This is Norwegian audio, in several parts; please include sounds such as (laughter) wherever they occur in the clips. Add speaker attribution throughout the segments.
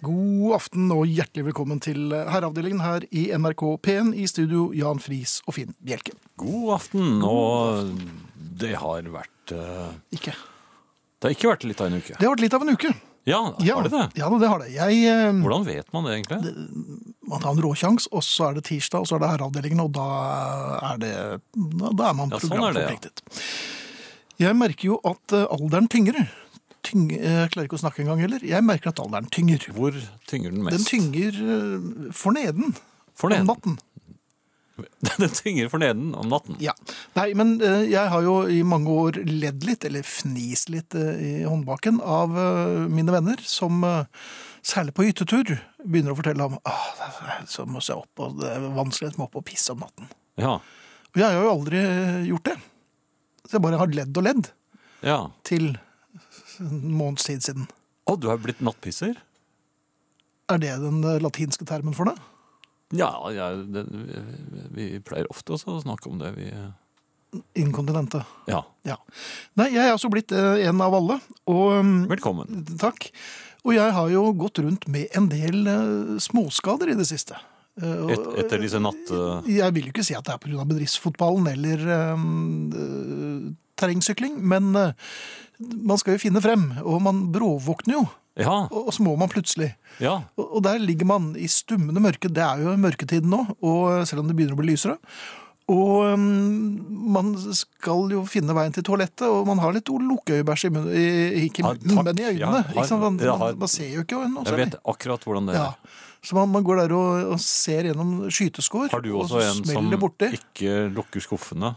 Speaker 1: God aften og hjertelig velkommen til Herreavdelingen her i NRK P1 i studio Jan Friis og Finn Bjelke.
Speaker 2: God aften, og det har vært eh,
Speaker 1: Ikke.
Speaker 2: Det har ikke vært litt av en uke.
Speaker 1: Det har vært litt av en uke.
Speaker 2: Ja,
Speaker 1: Ja,
Speaker 2: har det det?
Speaker 1: Ja, da, det har det. Jeg, eh,
Speaker 2: Hvordan vet man det egentlig?
Speaker 1: man har en råkjangs, og så er det tirsdag, og så er det Herreavdelingen, og da er, det, da, da er man
Speaker 2: Ja, sånn er det, ja.
Speaker 1: programforpliktet. Jeg merker jo at eh, alderen tynger. Tyng, eh, jeg klarer ikke å snakke engang heller. Jeg merker at alderen tynger.
Speaker 2: Hvor tynger den
Speaker 1: Den
Speaker 2: mest?
Speaker 1: tynger eh, for neden.
Speaker 2: For neden?
Speaker 1: Om natten.
Speaker 2: (laughs) den tynger for neden om natten.
Speaker 1: Ja. Nei, men eh, jeg har jo i mange år ledd litt, eller fnis litt eh, i håndbaken av eh, mine venner som eh, Særlig på hyttetur begynner å fortelle om ah, det er- så må jeg opp, og det er vanskelig, jeg må opp og pisse om natten.
Speaker 2: Ja.
Speaker 1: Og jeg har jo aldri eh, gjort det. Så jeg bare har ledd og ledd
Speaker 2: ja.
Speaker 1: til en måneds tid siden.
Speaker 2: Å, du har blitt nattpisser?
Speaker 1: Er det den eh, latinske termen for det?
Speaker 2: Ja, ja det, vi- vi pleier ofte også å snakke om det. Vi, eh,
Speaker 1: Inkontinente.
Speaker 2: ja.
Speaker 1: Ja. Nei, jeg er altså blitt eh, en av alle. Og mm,
Speaker 2: Velkommen.
Speaker 1: Takk. Og jeg har jo gått rundt med en del eh, småskader i det siste. Eh, og-
Speaker 2: Et, etter disse natt... eh,
Speaker 1: Jeg vil jo ikke si at det er pga. bedriftsfotballen eller eh, eh, terrengsykling, men eh, man skal jo finne frem, og man bråvåkner jo,
Speaker 2: Ja,
Speaker 1: og og så må man plutselig.
Speaker 2: ja.
Speaker 1: Og og der ligger man i stummende mørke, det er jo mørketiden nå, og selv om det begynner å bli lysere. Og mm, man skal jo finne veien til toalettet, og man har litt lukkeøyebæsj i munnen, i- ikke i
Speaker 2: Ja,
Speaker 1: munnen,
Speaker 2: takk.
Speaker 1: men i øynene.
Speaker 2: Ja, har-
Speaker 1: ikke sant? Man,
Speaker 2: ja, har-
Speaker 1: man, man ser jo ikke noe
Speaker 2: Jeg
Speaker 1: særlig.
Speaker 2: vet akkurat hvordan det
Speaker 1: Ja.
Speaker 2: er.
Speaker 1: Så man, man går der og, og ser gjennom skyteskår,
Speaker 2: Har du
Speaker 1: og
Speaker 2: også
Speaker 1: så
Speaker 2: en som
Speaker 1: smeller det borti.
Speaker 2: ikke lukker skuffene?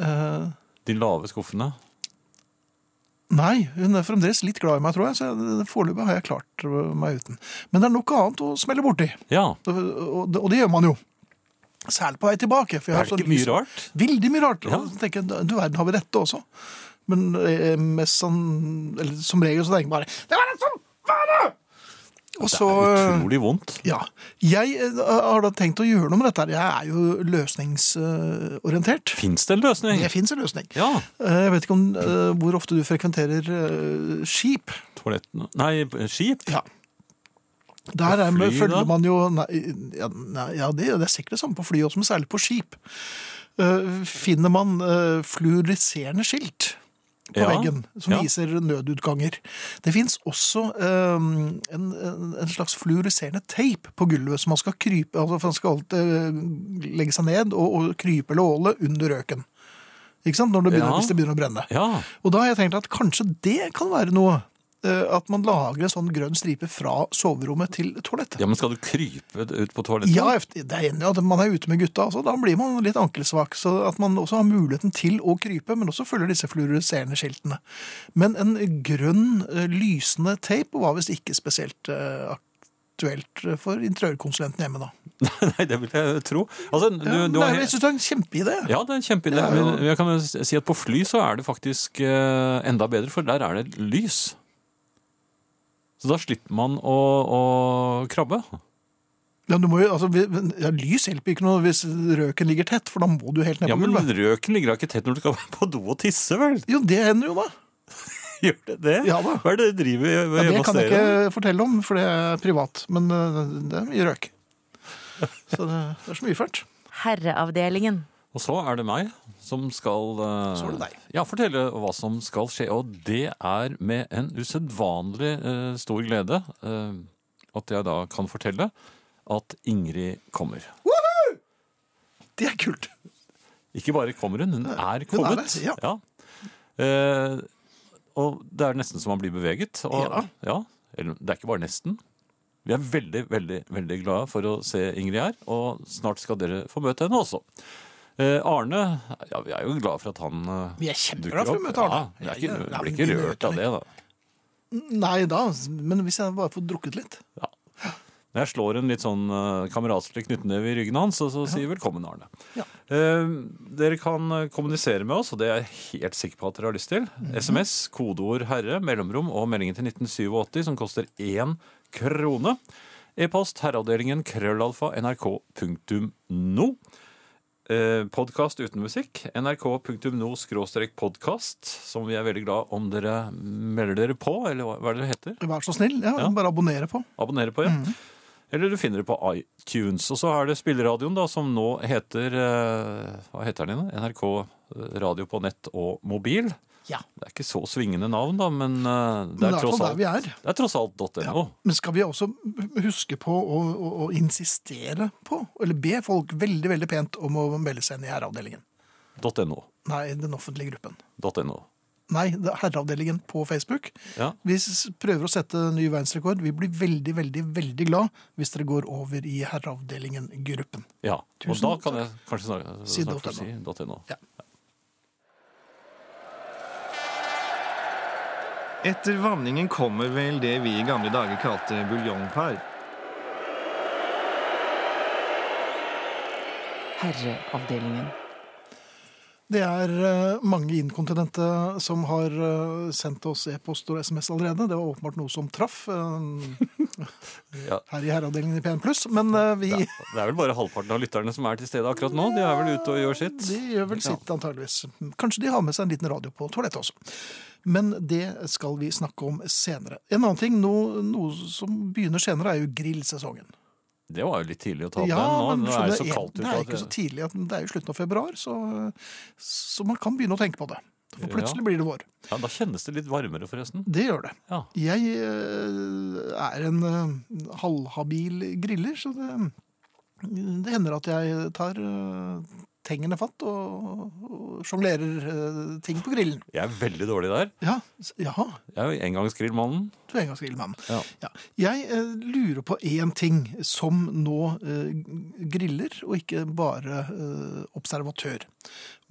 Speaker 1: Eh,
Speaker 2: De lave skuffene?
Speaker 1: nei, hun er fremdeles litt glad i meg, tror jeg, så jeg- foreløpig har jeg klart meg uten. Men det er noe annet å smelle borti.
Speaker 2: Ja.
Speaker 1: Og, og, det- og det gjør man jo. Særlig på vei tilbake. For jeg
Speaker 2: Det
Speaker 1: har
Speaker 2: er ikke
Speaker 1: sånn
Speaker 2: mye
Speaker 1: lyst-
Speaker 2: rart.
Speaker 1: Veldig mye rart.
Speaker 2: Ja.
Speaker 1: Og så tenker jeg, du verden, har vi dette også? Men eh, mest sånn, eller, som regel så tenker jeg bare Det var det som var det! Og
Speaker 2: Det
Speaker 1: så eh,
Speaker 2: er utrolig vondt.
Speaker 1: Ja. Jeg eh, har da tenkt å gjøre noe med dette. her. Jeg er jo løsningsorientert.
Speaker 2: Fins det en løsning?
Speaker 1: Det fins en løsning.
Speaker 2: Ja.
Speaker 1: Eh, Jeg vet ikke om, eh, hvor ofte du frekventerer eh, skip.
Speaker 2: Toalettene Nei, skip.
Speaker 1: Ja. Der er,
Speaker 2: fly, da?
Speaker 1: følger man jo nei, ja, nei, ja, det, det er sikkert det samme på fly også, men særlig på skip. Eh, finner man eh, fluoriserende skilt på
Speaker 2: Ja,
Speaker 1: veggen som
Speaker 2: ja.
Speaker 1: viser nødutganger. Det fins også eh, en, en, en slags fluoriserende teip på gulvet som man skal krype altså for Man skal alltid eh, legge seg ned og, og krype eller åle under røken. Ikke sant? Når det begynner,
Speaker 2: Ja.
Speaker 1: Hvis det begynner å brenne.
Speaker 2: Ja.
Speaker 1: Og da har jeg tenkt at kanskje det kan være noe. eh, At man lager en sånn grønn stripe fra soverommet til toalettet.
Speaker 2: ja, men skal du krype ut på toalettet?
Speaker 1: Ja, efter- det er enig at man er ute med gutta, så da blir man litt ankelsvak. Så at man også har muligheten til å krype, men også følger disse fluorescerende skiltene. Men en grønn, eh, lysende tape var visst ikke spesielt eh, aktuelt for interiørkonsulenten hjemme da.
Speaker 2: (laughs) Nei, det vil jeg tro. Altså, du,
Speaker 1: Ja,
Speaker 2: du har
Speaker 1: Nei, jeg
Speaker 2: helt-
Speaker 1: synes det er en kjempeidé.
Speaker 2: ja, det er en kjempeidé.
Speaker 1: Det er jo-
Speaker 2: Men jeg kan jo si at på fly så er det faktisk eh, enda bedre, for der er det lys. Så da slipper man å, å krabbe.
Speaker 1: Ja, du må jo, altså, vi- ja, lys hjelper ikke noe hvis røken ligger tett, for da må du helt ned
Speaker 2: Ja,
Speaker 1: på
Speaker 2: Men
Speaker 1: gulvet.
Speaker 2: røken ligger da ikke tett når du skal (laughs) på do og tisse, vel? (laughs)
Speaker 1: Jo, det hender jo da.
Speaker 2: Gjør det det?
Speaker 1: Ja da.
Speaker 2: Hva er det dere driver
Speaker 1: Ja,
Speaker 2: med
Speaker 1: det
Speaker 2: hjemme hos
Speaker 1: kan jeg
Speaker 2: dere?
Speaker 1: ikke fortelle om, for det er privat. Men øh, det er mye
Speaker 2: (laughs)
Speaker 1: røyk. Så det det er så mye fælt.
Speaker 3: Herreavdelingen.
Speaker 2: Og så er det meg som skal eh,
Speaker 1: Så er det deg.
Speaker 2: Ja, fortelle hva som skal skje. Og det er med en usedvanlig eh, stor glede eh, at jeg da kan fortelle at Ingrid kommer.
Speaker 1: Det er kult.
Speaker 2: Ikke bare kommer hun, hun er
Speaker 1: hun er
Speaker 2: kommet.
Speaker 1: det, ja.
Speaker 2: Eh, og det er nesten så man blir beveget. Og,
Speaker 1: Ja.
Speaker 2: Eller, det er ikke bare nesten. Vi er veldig, veldig veldig glade for å se Ingrid her, og snart skal dere få møte henne også. Eh, Arne ja, Vi er jo glad for at han eh,
Speaker 1: Vi er
Speaker 2: dukker
Speaker 1: kjempeglade for å
Speaker 2: opp.
Speaker 1: møte Arne.
Speaker 2: Ja, det er ikke,
Speaker 1: Ja,
Speaker 2: jeg blir
Speaker 1: men vi
Speaker 2: ikke
Speaker 1: møter
Speaker 2: rørt av
Speaker 1: han
Speaker 2: det, da.
Speaker 1: Nei da, men hvis jeg bare får drukket litt.
Speaker 2: Når jeg slår en litt sånn eh, kameratslig knyttneve i ryggen hans, så, så sier jeg velkommen, Arne.
Speaker 1: Ja.
Speaker 2: Eh, dere kan eh, kommunisere med oss, og det er jeg helt sikker på at dere har lyst til. SMS, kodeord 'herre', mellomrom og meldingen til 1987, som koster én krone. E-post herreavdelingen krøllalfa nrk.no. Eh, podkast uten musikk. nrk.no-podkast, som vi er veldig glad om dere melder dere på, eller hva, hva er det det heter?
Speaker 1: Vær så snill. Ja,
Speaker 2: Ja.
Speaker 1: Bare abonnere på. Mm.
Speaker 2: Abonnere på, ja. Eller du finner det på iTunes. Og så er det spilleradioen, da, som nå heter eh, Hva heter den igjen? NRK eh, Radio på nett og mobil.
Speaker 1: Ja.
Speaker 2: Det er ikke så svingende navn, da, men eh,
Speaker 1: Men
Speaker 2: det
Speaker 1: det er
Speaker 2: er
Speaker 1: i hvert
Speaker 2: tross
Speaker 1: fall der
Speaker 2: alt
Speaker 1: vi er.
Speaker 2: det er tross alt .no.
Speaker 1: Men skal vi også huske på å, å, å insistere på, eller be folk veldig veldig pent om å melde seg inn i herreavdelingen?
Speaker 2: .no.
Speaker 1: Nei, den offentlige gruppen.
Speaker 2: .no.
Speaker 1: Nei, det er herreavdelingen på Facebook.
Speaker 2: Ja.
Speaker 1: Vi s- prøver å sette ny verdensrekord. Vi blir veldig, veldig, veldig glad hvis dere går over i herreavdelingen-gruppen.
Speaker 2: ja. Og
Speaker 1: Tusen
Speaker 2: da kan jeg kanskje snakke,
Speaker 1: Si
Speaker 2: snart
Speaker 1: .no.
Speaker 2: si .no.
Speaker 1: Ja.
Speaker 3: Etter vanningen kommer vel det vi i gamle dager kalte buljongpar.
Speaker 4: Herreavdelingen.
Speaker 1: Det er eh, mange inkontinente som har eh, sendt oss e-post og SMS allerede. Det var åpenbart noe som traff eh,
Speaker 2: Ja.
Speaker 1: her i herreavdelingen i PN+. Men eh, (laughs) vi
Speaker 2: Det er- det er vel bare halvparten av lytterne som er til stede akkurat nå. De er vel ute og gjør sitt.
Speaker 1: De gjør vel sitt, antageligvis. Kanskje de har med seg en liten radio på toalettet også. Men det skal vi snakke om senere. En annen ting, noe, noe som begynner senere, er jo grillsesongen.
Speaker 2: Det var jo litt tidlig å ta opp den nå. Nå er det så
Speaker 1: skjønner,
Speaker 2: kaldt
Speaker 1: det
Speaker 2: ute.
Speaker 1: er
Speaker 2: at
Speaker 1: ikke så
Speaker 2: det-
Speaker 1: tidlig. at- Det er jo slutten av februar, så, så man kan begynne å tenke på det. For
Speaker 2: Ja.
Speaker 1: plutselig blir det vår.
Speaker 2: Ja, da kjennes det litt varmere, forresten.
Speaker 1: Det gjør det.
Speaker 2: Ja.
Speaker 1: Jeg eh, er en eh, halvhabil griller, så det, det hender at jeg tar eh, tengene fatt og, og sjonglerer eh, ting på grillen.
Speaker 2: Jeg er veldig dårlig der.
Speaker 1: Ja, s- jaha,
Speaker 2: Jeg er jo engangsgrillmannen.
Speaker 1: du er engangsgrillmann.
Speaker 2: Ja.
Speaker 1: Ja. Jeg eh, lurer på én ting som nå eh, griller, og ikke bare eh, observatør.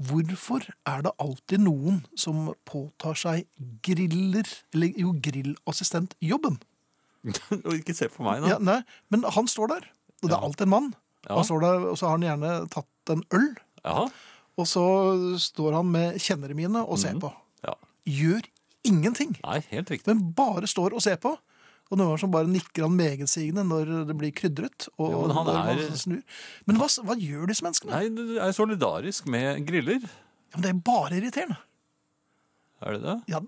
Speaker 1: Hvorfor er det alltid noen som påtar seg griller, eller jo grillassistentjobben?
Speaker 2: (laughs) Og ikke se på meg, da.
Speaker 1: Ja, nei, men han står der, og det er alltid en mann.
Speaker 2: Ja.
Speaker 1: Han står der, og så har han gjerne tatt en øl,
Speaker 2: Jaha.
Speaker 1: og så står han med kjennere mine og
Speaker 2: Mhm.
Speaker 1: ser på.
Speaker 2: Ja.
Speaker 1: Gjør ingenting.
Speaker 2: Nei, helt riktig.
Speaker 1: men bare står og ser på. Og noen ganger så bare nikker han megetsigende når det blir krydret. Og
Speaker 2: Jo, men han
Speaker 1: når man
Speaker 2: er-
Speaker 1: snur. men hva, hva gjør disse menneskene?
Speaker 2: Nei, du er solidarisk med griller.
Speaker 1: Ja, men det er bare irriterende. (laughs)
Speaker 2: Er det det?
Speaker 1: Ja.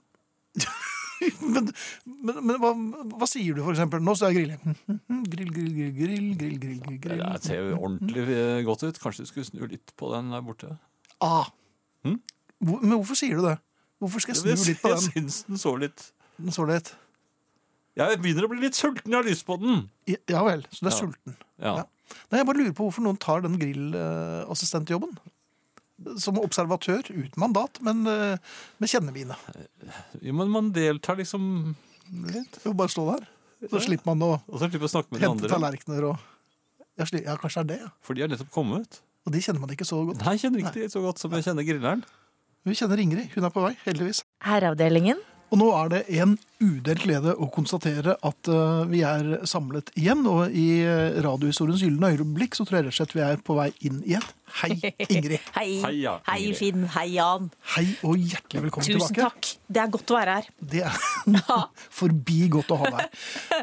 Speaker 1: men men, men hva, hva sier du, for eksempel? Nå står jeg og griller. Hm, Grill, grill, grill, grill, grill, grill, grill, grill.
Speaker 2: Det ser jo ordentlig eh, godt ut. Kanskje du skulle snu litt på den der borte?
Speaker 1: Ah.
Speaker 2: Hm?
Speaker 1: Hvor, men hvorfor sier du det? Hvorfor skal jeg snu litt på
Speaker 2: jeg
Speaker 1: den?
Speaker 2: syns den så litt
Speaker 1: Den står litt.
Speaker 2: Jeg begynner å bli litt sulten, jeg har lyst på den!
Speaker 1: Ja vel, så du er
Speaker 2: Ja.
Speaker 1: sulten.
Speaker 2: Ja.
Speaker 1: Ja. Nei, jeg bare lurer på hvorfor noen tar den grillassistentjobben. Som observatør, uten mandat, men eh, med kjennemine.
Speaker 2: Jo, Men man deltar liksom litt.
Speaker 1: Jo, bare stå der. Så slipper man å
Speaker 2: Og så slipper å snakke med de
Speaker 1: hente
Speaker 2: andre,
Speaker 1: tallerkener og ja, sli- ja, kanskje det er det. ja.
Speaker 2: for de er nettopp kommet.
Speaker 1: Og de kjenner man ikke så godt.
Speaker 2: Nei, jeg kjenner ikke de så godt som jeg kjenner grilleren.
Speaker 1: Vi kjenner Ingrid. Hun er på vei, heldigvis.
Speaker 4: Herreavdelingen.
Speaker 1: Og nå er det en udelt glede å konstatere at eh, vi er samlet igjen. Og i eh, radiohistoriens gylne øyeblikk så tror jeg rett og slett vi er på vei inn igjen. Hei, Ingrid.
Speaker 5: Hei,
Speaker 2: Hei, ja,
Speaker 5: hei
Speaker 2: Ingrid.
Speaker 5: Finn. Hei, Jan.
Speaker 1: Hei og hjertelig velkommen
Speaker 5: Tusen
Speaker 1: tilbake.
Speaker 5: takk. Det er godt å være her.
Speaker 1: Det er (laughs) forbi godt å ha deg.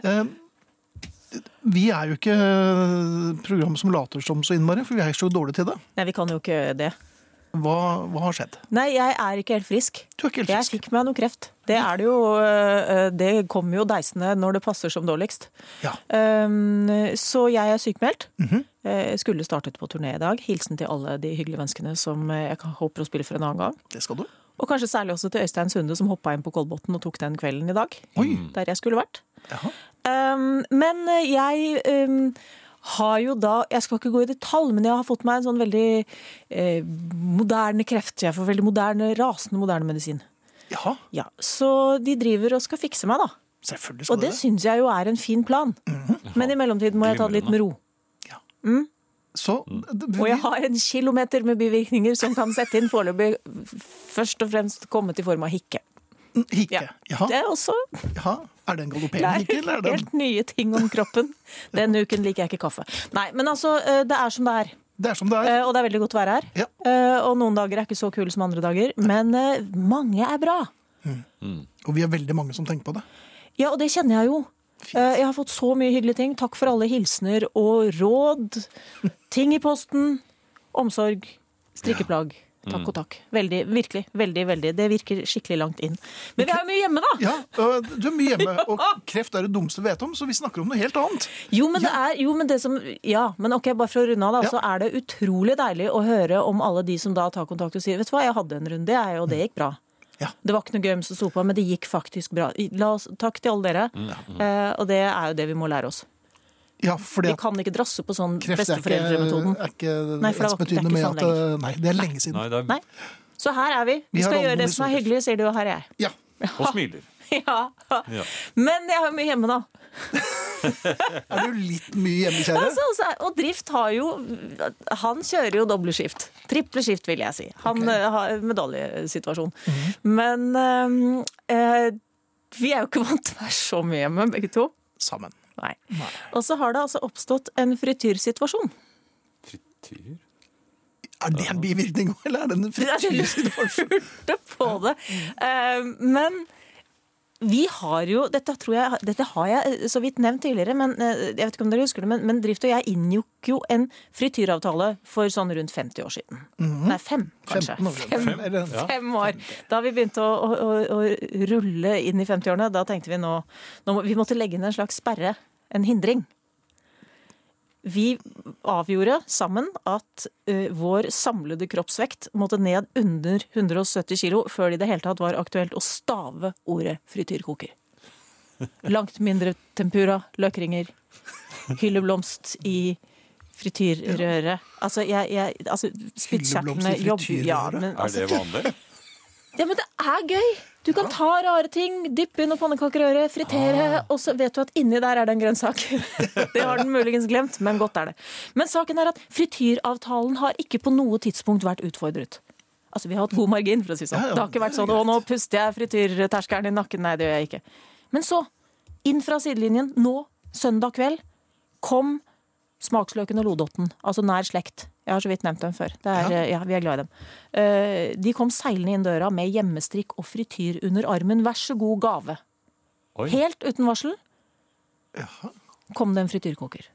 Speaker 1: Eh, Vi er jo ikke eh, program som later som så innmari, for vi er så dårlige til det.
Speaker 5: Nei, vi kan jo ikke det.
Speaker 1: Hva, hva har skjedd?
Speaker 5: Nei, jeg er ikke helt frisk.
Speaker 1: Du er ikke helt
Speaker 5: Jeg
Speaker 1: frisk.
Speaker 5: fikk meg noe kreft. Det er det jo øh, øh, Det kommer jo deisende når det passer som dårligst.
Speaker 1: Ja.
Speaker 5: Um, Så jeg er sykmeldt.
Speaker 1: Mhm.
Speaker 5: Eh, Skulle startet på turné i dag. Hilsen til alle de hyggelige menneskene som eh, jeg håper å spille for en annen gang.
Speaker 1: Det skal du.
Speaker 5: Og kanskje særlig også til Øystein Sunde, som hoppa inn på Kolbotn og tok den kvelden i dag. Der jeg skulle vært.
Speaker 1: Jaha.
Speaker 5: Um, men jeg um, har jo da Jeg skal ikke gå i detalj, men jeg har fått meg en sånn veldig eh, moderne kreft. Jeg får veldig moderne, rasende moderne medisin.
Speaker 1: Jaha,
Speaker 5: Ja, Så de driver og skal fikse meg, da.
Speaker 1: selvfølgelig
Speaker 5: Og
Speaker 1: skal du
Speaker 5: det
Speaker 1: det. Mhm.
Speaker 5: syns jeg jo er en fin plan. Men i mellomtiden må jeg ta det litt med ro.
Speaker 1: Så, d-
Speaker 5: Og jeg
Speaker 1: vi,
Speaker 5: har en kilometer med bivirkninger som kan sette inn foreløpig. Først og fremst kommet i form av hikke.
Speaker 1: Hike. Jaha,
Speaker 5: Det er også
Speaker 1: jaha. Er det en galopperende
Speaker 5: lærer
Speaker 1: hike, eller er det en
Speaker 5: helt nye ting om kroppen. Denne uken liker jeg ikke kaffe. Nei, men altså, eh, det er som det er.
Speaker 1: Det er som det er.
Speaker 5: Eh, Og det er veldig godt å være her.
Speaker 1: Ja.
Speaker 5: Eh, Og noen dager er ikke så kule som andre dager, men eh, mange er bra.
Speaker 1: Og vi er veldig mange som tenker på det.
Speaker 5: Ja, og det kjenner jeg jo. Eh, Jeg har fått så mye hyggelige ting. Takk for alle hilsener og råd. Ting i posten. Omsorg. Strikkeplagg. Takk og takk. Veldig, virkelig. Veldig, veldig. Det virker skikkelig langt inn. Men vi er jo mye hjemme, da!
Speaker 1: Ja, øh, Du er mye
Speaker 5: (laughs)
Speaker 1: hjemme, og kreft er det dummeste vi vet om, så vi snakker om noe helt annet.
Speaker 5: Jo, men det er jo, men det som Ja, men ok, bare for å runde av, da. Så er det utrolig deilig å høre om alle de som da tar kontakt og sier Vet du hva, jeg hadde en runde, jeg, og det gikk bra.
Speaker 1: Ja.
Speaker 5: Det var ikke noe gøy med å sope, men det gikk faktisk bra. La oss, takk til alle dere.
Speaker 1: Mm,
Speaker 5: Eh, og det er jo det vi må lære oss.
Speaker 1: Ja, fordi
Speaker 5: Vi
Speaker 1: at
Speaker 5: kan ikke drasse på sånn
Speaker 1: kreft er ikke,
Speaker 5: besteforeldremetoden.
Speaker 1: er ikke
Speaker 5: Nei, for det var- det er ikke
Speaker 1: ensbetydende med
Speaker 5: sånn
Speaker 1: at øh, Nei, det er lenge siden.
Speaker 2: Nei, det er,
Speaker 5: Nei. Så her er vi.
Speaker 1: Vi
Speaker 5: Vi
Speaker 1: har
Speaker 5: skal
Speaker 1: alle
Speaker 5: gjøre det som er
Speaker 1: historier.
Speaker 5: hyggelig, sier du, og her er jeg. (laughs)
Speaker 1: Ja,
Speaker 2: og smiler.
Speaker 5: Ja.
Speaker 2: Ja.
Speaker 5: Men jeg har jo mye hjemme, da.
Speaker 1: Er du litt mye hjemme, kjære?
Speaker 5: Altså, altså, og Drift har jo Han kjører jo doble skift. Triple skift, vil jeg si. Han
Speaker 1: Ok.
Speaker 5: eh, har medaljesituasjon. Men ehm, eh, vi er jo ikke (laughs) vant til å være så mye hjemme, begge to.
Speaker 1: Sammen.
Speaker 5: Nei. Og så har det altså oppstått en frityrsituasjon. (laughs)
Speaker 2: Frityr?
Speaker 1: Er det en bivirkning, (laughs) eller er det en frityrsituasjon?
Speaker 5: lurte på det. Eh, Men vi har jo Dette, tror jeg, dette har jeg eh, så vidt nevnt tidligere, men eh, jeg vet ikke om dere husker det, men, men Drift og jeg inngikk jo en frityravtale for sånn rundt 50 år siden. Nei, Mhm. fem,
Speaker 1: (laughs)
Speaker 5: kanskje.
Speaker 1: 15 år siden.
Speaker 5: Fem,
Speaker 1: Eller-
Speaker 2: Ja.
Speaker 5: fem år. Da vi begynte å, å, å, å rulle inn i 50-årene, da tenkte vi nå, nå må- Vi måtte legge inn en slags sperre. En hindring. Vi avgjorde sammen at eh, vår samlede kroppsvekt måtte ned under 170 kilo før det i det hele tatt var aktuelt å stave ordet frityrkoker. Langt mindre tempura, løkringer, hylleblomst i frityrrøret. Altså, jeg, jeg altså, Spyttkjertlene
Speaker 1: Hylleblomst i
Speaker 5: jobber jo- ja,
Speaker 1: frityrrøret?
Speaker 5: men,
Speaker 2: Er
Speaker 5: altså,
Speaker 2: det vanlig?
Speaker 5: ja, men det er gøy! Du kan ta rare ting, dyppe i noe pannekakerøre, fritere,
Speaker 1: Ah.
Speaker 5: og så vet du at inni der er det en grønnsak. (laughs) det har den muligens glemt, men godt er det. Men saken er at frityravtalen har ikke på noe tidspunkt vært utfordret. Altså, Vi har hatt god margin, for å si sånn.
Speaker 1: Ja, ja,
Speaker 5: det har ikke vært
Speaker 1: det er
Speaker 5: sånn 'å, nå puster jeg frityrterskelen i nakken'. Nei, det gjør jeg ikke. Men så, inn fra sidelinjen, nå, søndag kveld, kom Smaksløken og lodotten, altså nær slekt. Jeg har så vidt nevnt dem før. Det er, ja. vi er glad i dem. Eh, De kom seilende inn døra med hjemmestrikk og frityr under armen. Vær så god gave.
Speaker 2: Oi.
Speaker 5: Helt uten varsel
Speaker 1: Jaha.
Speaker 5: kom det en frityrkoker.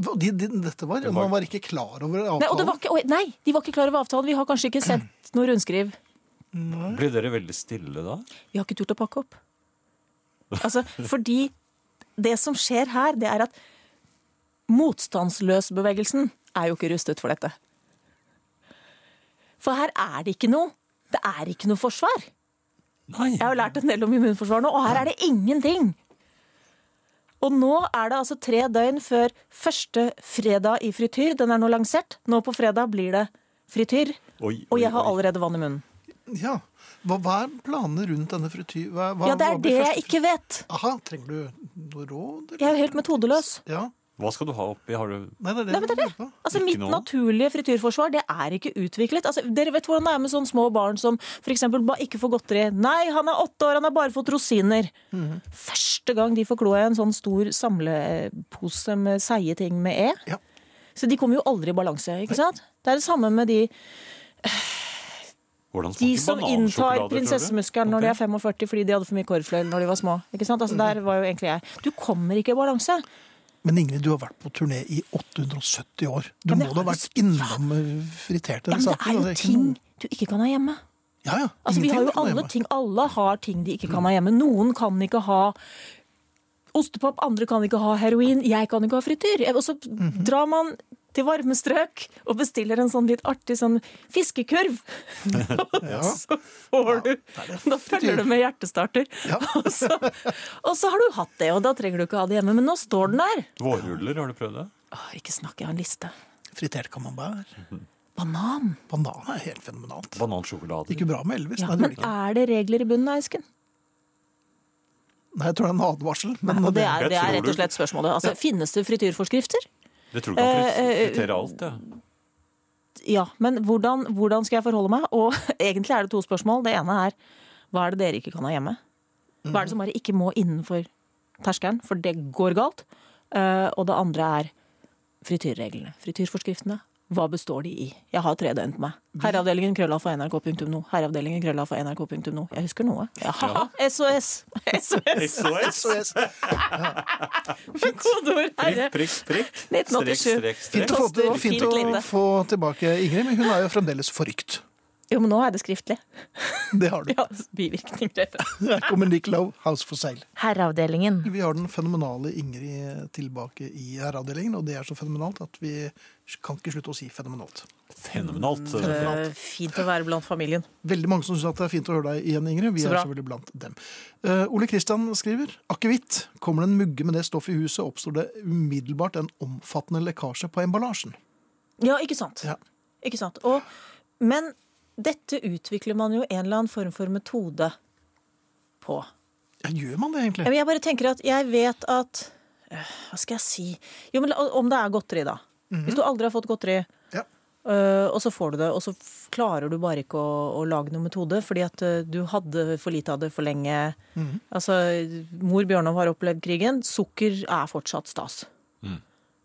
Speaker 1: Og de, de, dette var, Man var ikke klar over
Speaker 5: Nei, og det var
Speaker 1: avtalen.
Speaker 5: ikke, oi, nei, de var ikke klar over avtalen. Vi har kanskje ikke sett noe rundskriv.
Speaker 2: Blir dere veldig stille da?
Speaker 5: Vi har ikke turt å pakke opp. Altså, fordi det som skjer her, det er at motstandsløsbevegelsen er jo ikke rustet for dette. For her er det ikke noe. Det er ikke noe forsvar.
Speaker 2: Nei.
Speaker 5: Jeg har lært en del om immunforsvar nå, og her er det ingenting. Og nå er det altså tre døgn før første fredag i frityr. Den er nå lansert. Nå på fredag blir det frityr.
Speaker 2: Oi,
Speaker 5: Og
Speaker 2: oi,
Speaker 5: jeg har
Speaker 2: oi.
Speaker 5: allerede vann i munnen.
Speaker 1: Ja. Hva, hva er planene rundt denne frityr... Hva, hva,
Speaker 5: Ja, det
Speaker 1: hva
Speaker 5: er
Speaker 1: blir
Speaker 5: det
Speaker 1: første-
Speaker 5: jeg ikke vet.
Speaker 1: Aha, trenger du noe råd?
Speaker 5: Jeg er jo helt metodeløs.
Speaker 1: Ja.
Speaker 2: Hva skal du ha oppi? Har du
Speaker 1: Nei, det er det.
Speaker 5: Nei, men det er
Speaker 1: vi lurer på.
Speaker 5: Altså,
Speaker 2: Ikke
Speaker 5: mitt
Speaker 2: noe?
Speaker 5: naturlige frityrforsvar det er ikke utviklet. Altså, dere vet hvordan det er med sånne små barn som f.eks. ikke får godteri. Nei, han er åtte år, han har bare fått rosiner. Første gang de får kloa i en sånn stor samlepose med seige ting med E.
Speaker 1: Ja.
Speaker 5: Så de kommer jo aldri i balanse, ikke sant? Det er det samme med de,
Speaker 2: Hvordan
Speaker 5: de
Speaker 2: smaker
Speaker 5: som
Speaker 2: banansjokolade,
Speaker 5: inntar
Speaker 2: tror du?
Speaker 5: prinsessemuskelen når de er
Speaker 2: Ok.
Speaker 5: 45 fordi de hadde for mye korvfløyel når de var små. Ikke sant? Altså, der var jo egentlig jeg. Du kommer ikke i balanse.
Speaker 1: Men Ingrid, du har vært på turné i 870 år. Du
Speaker 5: Ja, men
Speaker 1: må da ha
Speaker 5: har
Speaker 1: vært innom eh, friterte
Speaker 5: Ja, men det
Speaker 1: saker, da.
Speaker 5: er jo
Speaker 1: ikke
Speaker 5: ting
Speaker 1: noe-
Speaker 5: du ikke kan ha hjemme.
Speaker 1: Ja, ja.
Speaker 5: Altså, vi
Speaker 1: Ingenting
Speaker 5: har jo
Speaker 1: kan
Speaker 5: alle
Speaker 1: hjemme.
Speaker 5: ting. Alle har ting de ikke kan ha hjemme. Noen kan ikke ha ostepop, andre kan ikke ha heroin, jeg kan ikke ha frityr. Og så drar man til varme strøk og bestiller en sånn litt artig sånn fiskekurv. (laughs) Og så får du (laughs) Da følger du med hjertestarter. (laughs) og, så, og så har du hatt det, og da trenger du ikke ha det hjemme. Men nå står den der.
Speaker 2: Vårruller, har du prøvd det?
Speaker 5: Åh, ikke snakk, jeg har en liste.
Speaker 1: Fritert kan man bære.
Speaker 5: Banan.
Speaker 1: Banan er helt fenomenalt. Det
Speaker 2: Banansjokolade.
Speaker 1: gikk jo bra med Elvis.
Speaker 5: Ja,
Speaker 1: nei, det
Speaker 5: men
Speaker 1: gjorde det ikke.
Speaker 5: er det regler i bunnen av esken?
Speaker 1: nei, jeg tror det er en advarsel. Men
Speaker 5: Og det
Speaker 1: det,
Speaker 5: er, det er
Speaker 2: tror
Speaker 5: rett og
Speaker 2: du-
Speaker 5: slett spørsmålet. Altså, Finnes det frityrforskrifter?
Speaker 2: Det tror du kan
Speaker 5: Eh,
Speaker 2: frit- fritere alt, det.
Speaker 5: (laughs) Ja, men hvordan, hvordan skal jeg forholde meg? Og egentlig er det to spørsmål. Det ene er Hva er det dere ikke kan ha hjemme? Hva er det som bare ikke må innenfor terskelen? For det går galt. Eh, og det andre er frityrreglene. Frityrforskriftene. Hva består de i? Jeg har tre døgn på meg. Herreavdelingen krøllalfa nrk.no. Herreavdelingen krøllalfa nrk.no. Jeg husker noe. (laughs) Jaha, SOS! SOS!
Speaker 2: SOS!
Speaker 1: SOS.
Speaker 5: Med kodeord herre.
Speaker 2: Prikk, prikk, prikk.
Speaker 5: 1987.
Speaker 2: Strek, strek, strek.
Speaker 1: Fint å, få, til-
Speaker 5: Koster
Speaker 1: fint
Speaker 5: fint
Speaker 1: å
Speaker 5: lite.
Speaker 1: få tilbake Ingrid, men hun er jo fremdeles forrykt.
Speaker 5: Jo, men nå er det skriftlig.
Speaker 1: Det har du.
Speaker 5: Ja, (laughs) bivirkninger.
Speaker 1: Velkommen, Nick Lowe, House for Sale.
Speaker 4: Herreavdelingen.
Speaker 1: Vi har den fenomenale Ingrid tilbake i herreavdelingen, og det er så fenomenalt at vi kan ikke slutte å si fenomenalt.
Speaker 2: Fenomenalt.
Speaker 5: Eh, Fint å være blant familien.
Speaker 1: Veldig mange som syns det er fint å høre deg igjen, Ingrid. Vi
Speaker 5: Så
Speaker 1: er
Speaker 5: bra.
Speaker 1: selvfølgelig blant dem. Eh, Ole Kristian skriver akevitt. Kommer det en mugge med det stoffet i huset, oppstår det umiddelbart en omfattende lekkasje på emballasjen.
Speaker 5: Ja, ikke sant?
Speaker 1: Ja.
Speaker 5: Ikke sant? Og, men dette utvikler man jo en eller annen form for metode på.
Speaker 1: Ja, gjør man det
Speaker 5: Ja,
Speaker 1: egentlig?
Speaker 5: men Jeg bare tenker at jeg vet at øh, Hva skal jeg si Jo, men la- om det er godteri, da. Hvis du aldri har fått godteri,
Speaker 1: Mhm. Ja.
Speaker 5: øh, og så får du det, og så f- klarer du bare ikke å, å lage noen metode fordi at øh, du hadde for lite av det for lenge.
Speaker 1: Mhm.
Speaker 5: Altså, mor Bjørnov har opplevd krigen. Sukker er fortsatt stas.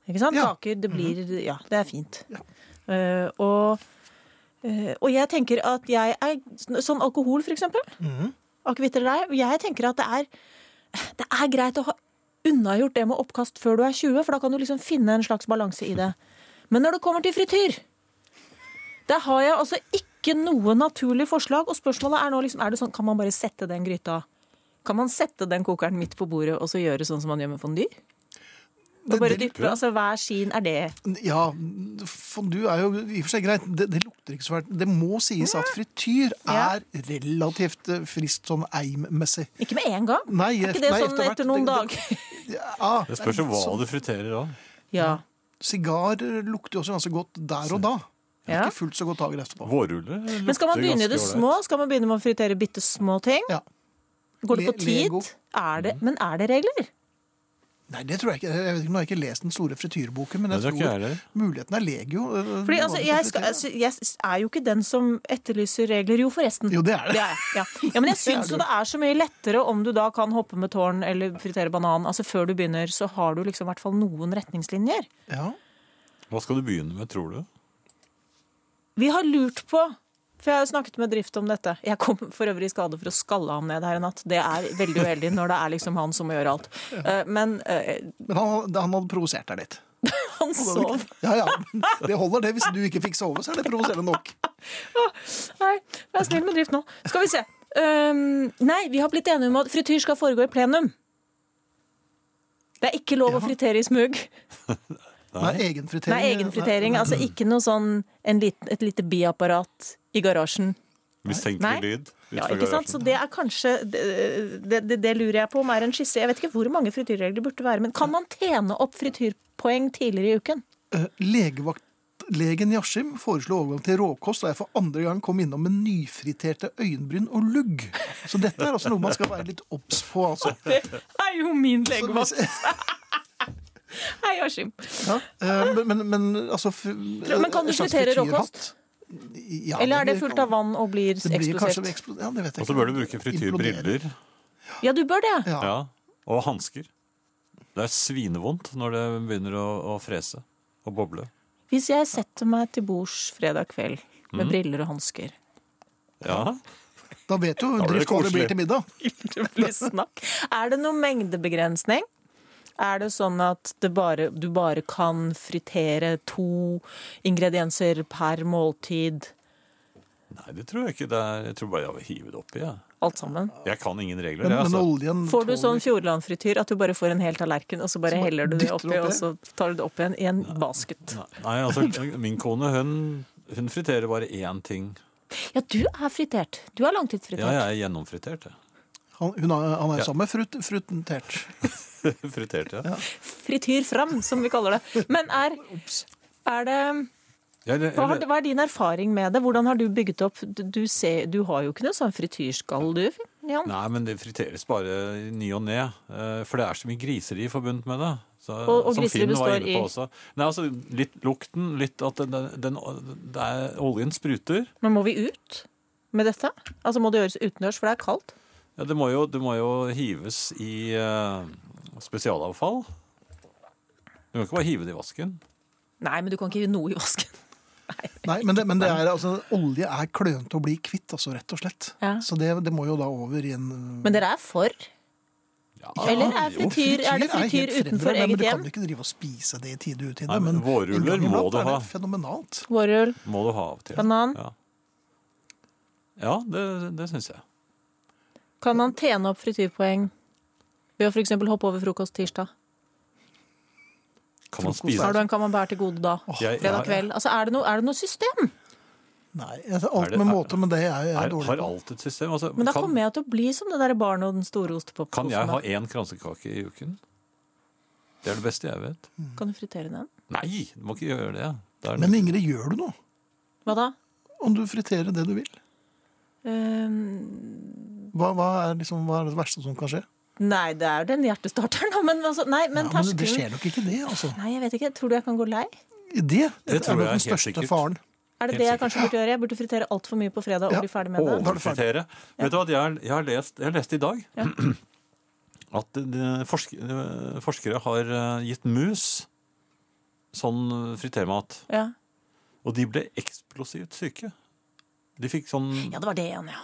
Speaker 5: Ikke sant?
Speaker 1: Ja. Mhm.
Speaker 5: Kaker, det blir Ja, det er fint. Eh, og, eh, og jeg tenker at jeg er Sånn alkohol, for eksempel.
Speaker 1: Mm.
Speaker 5: Akevitt eller ei. Jeg tenker at det er det er greit å ha unnagjort det med oppkast før du er 20, for da kan du liksom finne en slags balanse i det. Men når det kommer til frityr, der har jeg altså ikke noe naturlig forslag. Og spørsmålet er nå liksom, er det sånn, kan man bare sette den gryta Kan man sette den kokeren midt på bordet og så gjøre sånn som man gjør med fondy? Og
Speaker 1: Det-
Speaker 5: bare
Speaker 1: det-
Speaker 5: dyppe, altså hver sin er det
Speaker 1: Ja, fondue er jo i og for seg greit. Det, det lukter ikke så fælt. Det må sies at frityr
Speaker 5: Ja.
Speaker 1: er relativt eh, friskt sånn eim-messig.
Speaker 5: Ikke med en gang.
Speaker 1: Nei,
Speaker 5: er ikke det
Speaker 1: nei,
Speaker 5: sånn
Speaker 1: etter hvert-
Speaker 5: etter noen
Speaker 1: det- ah.
Speaker 5: dager? (laughs)
Speaker 1: Ja,
Speaker 2: Det spørs jo hva du friterer da.
Speaker 5: Ja.
Speaker 1: Sigar lukter jo også ganske godt der og da.
Speaker 5: Ja.
Speaker 1: Ikke fullt så godt dagen etterpå.
Speaker 2: Vårruller lukter
Speaker 5: Men skal man begynne i det
Speaker 2: ganske
Speaker 5: små? Skal man begynne med å fritere bitte små ting?
Speaker 1: Ja.
Speaker 5: Går det på
Speaker 1: Le- Lego. Mm.
Speaker 5: tid? Er det, men er det regler?
Speaker 1: Nei, det tror jeg ikke. Jeg vet ikke, Nå har jeg ikke lest den store frityrboken, men
Speaker 2: Nei,
Speaker 1: jeg
Speaker 2: det har ikke
Speaker 1: tror
Speaker 2: jeg heller.
Speaker 1: muligheten er legio. eh,
Speaker 5: Fordi
Speaker 1: hva
Speaker 5: altså,
Speaker 1: du kan
Speaker 5: jeg, skal,
Speaker 1: fritere.
Speaker 5: altså, jeg s- er jo ikke den som etterlyser regler. Jo, forresten.
Speaker 1: Jo, det er (laughs) det.
Speaker 5: er jeg, ja. ja, Men jeg syns jo det er så mye lettere om du da kan hoppe med tårn eller fritere banan. Altså Før du begynner, så har du liksom i hvert fall noen retningslinjer.
Speaker 1: Ja.
Speaker 2: bra. Hva skal du begynne med, tror du?
Speaker 5: Vi har lurt på for jeg har jo snakket med Drift om dette. Jeg kom for øvrig i skade for å skalle ham ned her i natt. Det er veldig uheldig når det er liksom han som må gjøre alt. Eh, Men eh,
Speaker 1: Men han, han hadde provosert deg litt.
Speaker 5: han sov.
Speaker 1: Ja, ja. men Det holder, det. Hvis du ikke fikk sove, så er det provoserende nok.
Speaker 5: Nei, vær snill med drift nå. Skal vi se. Ehm, nei, vi har blitt enige om at frityr skal foregå i plenum. Det er ikke lov å fritere i smug.
Speaker 1: Nei, egenfritering.
Speaker 5: Det er egenfritering. Altså ikke noe sånn en liten, et lite biapparat i garasjen. Nei.
Speaker 2: Mistenkelig lyd? ut
Speaker 5: Ja,
Speaker 2: fra
Speaker 5: ikke
Speaker 2: garasjen.
Speaker 5: sant? Så det er kanskje det, det, det, det lurer jeg på om er en skisse. Jeg vet ikke hvor mange frityrregler det burde være, men kan man tjene opp frityrpoeng tidligere
Speaker 1: (laughs)
Speaker 5: i uken?
Speaker 1: Eh, Legevaktlegen Yashim foreslo overgang til råkost, og jeg for andre gang kom innom med nyfriterte øyenbryn og lugg. Så dette er også noe man skal være litt obs på, altså.
Speaker 5: Det er jo min (laughs) legevakt.
Speaker 1: Så hvis- (laughs)
Speaker 5: Hei, Askim.
Speaker 1: Ja, eh, men, men, men altså f-
Speaker 5: men kan du
Speaker 1: en slags
Speaker 5: fritere
Speaker 1: frityrhatt?
Speaker 5: råkost?
Speaker 1: Ja,
Speaker 5: Eller er det
Speaker 1: blir-
Speaker 5: fullt av vann og blir
Speaker 1: Det blir kanskje
Speaker 5: eksplosivt?
Speaker 1: eksplo- Ja, det vet jeg
Speaker 2: Og så
Speaker 1: ikke.
Speaker 2: bør du bruke frityrbriller.
Speaker 5: Ja, du bør det.
Speaker 1: Ja.
Speaker 2: Ja. Og hansker. Det er svinevondt når det begynner å, å frese og boble.
Speaker 5: Hvis jeg setter meg til bords fredag kveld med
Speaker 1: Mm.
Speaker 5: briller og
Speaker 1: (laughs)
Speaker 5: hansker
Speaker 2: Ja,
Speaker 1: Da vet jo
Speaker 2: Da blir det
Speaker 1: drift hva det blir
Speaker 2: koselig.
Speaker 1: til middag.
Speaker 5: Er det noen mengdebegrensning? Er det sånn at det bare, du bare kan fritere to ingredienser per måltid?
Speaker 2: Nei, det tror jeg ikke. Det er, jeg tror bare jeg vil hive det oppi. Jeg.
Speaker 5: Alt sammen.
Speaker 2: jeg kan ingen regler.
Speaker 1: Men,
Speaker 2: jeg,
Speaker 1: men
Speaker 2: altså.
Speaker 1: oljen
Speaker 5: Får du
Speaker 1: tåler-
Speaker 5: sånn Fjordland-frityr at du bare får en hel tallerken, og så bare
Speaker 1: Så bare
Speaker 5: heller du det
Speaker 1: dytter
Speaker 5: oppi,
Speaker 1: oppi.
Speaker 5: og så tar du det opp igjen i en basket?
Speaker 2: Nei, altså, min kone hun, hun friterer bare én ting.
Speaker 5: Ja, du er fritert. Du er langtidsfritert.
Speaker 2: Ja, jeg er gjennomfritert. jeg. (laughs)
Speaker 1: Han, hun er, han er jo sammen med frut, frutentert.
Speaker 2: Fritert, ja.
Speaker 5: Frityr fram, som vi kaller det. Men er, er det
Speaker 2: Jeg, eller-
Speaker 5: Hva, har, hva er din erfaring med det? Hvordan har du bygget opp Du, du, ser, du har jo ikke noe sånn frityrskall, du, Jan.
Speaker 2: nei, men det friteres bare i ny og ne. eh, For det er så mye griseri forbundet med det. Så,
Speaker 5: Og- og
Speaker 2: som
Speaker 5: griseri
Speaker 2: Finn var
Speaker 5: består
Speaker 2: inne på
Speaker 5: i-
Speaker 2: også. Nei, altså, litt lukten, litt at den, den, den, det er, oljen spruter.
Speaker 5: Men må vi ut? med dette? Altså Må det gjøres utendørs, for det er kaldt?
Speaker 2: Ja, det, må jo, det må jo hives i eh, spesialavfall. Du kan ikke bare hive det i vasken.
Speaker 5: Nei, men du kan ikke gjøre noe i vasken.
Speaker 1: Nei, men, det, men det er, altså, olje er klønete å bli kvitt, altså, rett og slett.
Speaker 5: Ja.
Speaker 1: Så det, det må jo da over i en
Speaker 2: Mm.
Speaker 5: Men dere er for?
Speaker 2: Ja,
Speaker 5: Eller er
Speaker 2: jo.
Speaker 5: frityr, er det
Speaker 1: helt
Speaker 5: frityr
Speaker 1: fremragende,
Speaker 5: utenfor
Speaker 1: men
Speaker 5: eget
Speaker 1: Du
Speaker 5: hjem?
Speaker 1: kan ikke drive og spise det i tide og utide.
Speaker 2: Nei, men vårruller
Speaker 1: innimellom
Speaker 2: må du
Speaker 1: er det
Speaker 2: ha.
Speaker 1: Fenomenalt.
Speaker 5: Vårrull,
Speaker 2: Må du ha av og til.
Speaker 5: banan.
Speaker 2: Ja, ja det, det syns jeg.
Speaker 5: Kan man tjene opp frityrpoeng ved å f.eks. hoppe over frokost tirsdag?
Speaker 2: Kan man
Speaker 1: Frokost
Speaker 2: spise
Speaker 5: Har du en camembert til gode da?
Speaker 2: Jeg-
Speaker 5: Fredag
Speaker 2: jeg-
Speaker 5: kveld? Altså, er det noe, er det noe system?
Speaker 1: Nei, altså, alt
Speaker 2: Er det-
Speaker 1: med
Speaker 2: er-
Speaker 1: måte, men det er jeg
Speaker 2: Er,
Speaker 1: er dårlig
Speaker 2: har
Speaker 1: på.
Speaker 2: alt et system. Altså,
Speaker 5: Men da
Speaker 2: kan,
Speaker 5: kommer jeg til å bli som det derre barnet og den store ostepopkosen.
Speaker 2: kan jeg
Speaker 5: da.
Speaker 2: ha én kransekake i uken? Det er det beste jeg vet.
Speaker 5: Kan du fritere den?
Speaker 2: Nei, du må ikke gjøre det. det er,
Speaker 1: Men Ingrid, gjør du noe?
Speaker 5: Hva da?
Speaker 1: Om du friterer det du vil?
Speaker 5: Ehm,
Speaker 1: Hva, hva, er, liksom, hva er det verste som kan skje?
Speaker 5: nei, det er jo den hjertestarteren, da. Men, altså, nei, men
Speaker 1: ja, men det
Speaker 5: terskelen
Speaker 1: skjer nok ikke det, altså.
Speaker 5: Nei, jeg vet ikke. Tror du jeg kan gå lei?
Speaker 1: Det, det, er
Speaker 2: Det tror jeg
Speaker 1: nok
Speaker 2: er
Speaker 1: den
Speaker 2: helt
Speaker 1: største
Speaker 2: sikkert.
Speaker 1: faren.
Speaker 5: Er det
Speaker 2: Helt sikkert.
Speaker 5: det jeg kanskje burde gjøre? Jeg burde fritere altfor mye på fredag
Speaker 1: Ja.
Speaker 5: og bli ferdig med det.
Speaker 1: da er du ferdig.
Speaker 2: Overfritere. Vet du hva, jeg, har- jeg, har lest, jeg har lest i dag (clears throat) at eh, forsk, eh, forskere har eh, gitt mus sånn fritermat,
Speaker 5: Ja.
Speaker 2: og de ble eksplosivt syke. De fikk sånn
Speaker 5: ja, det var det igjen, ja.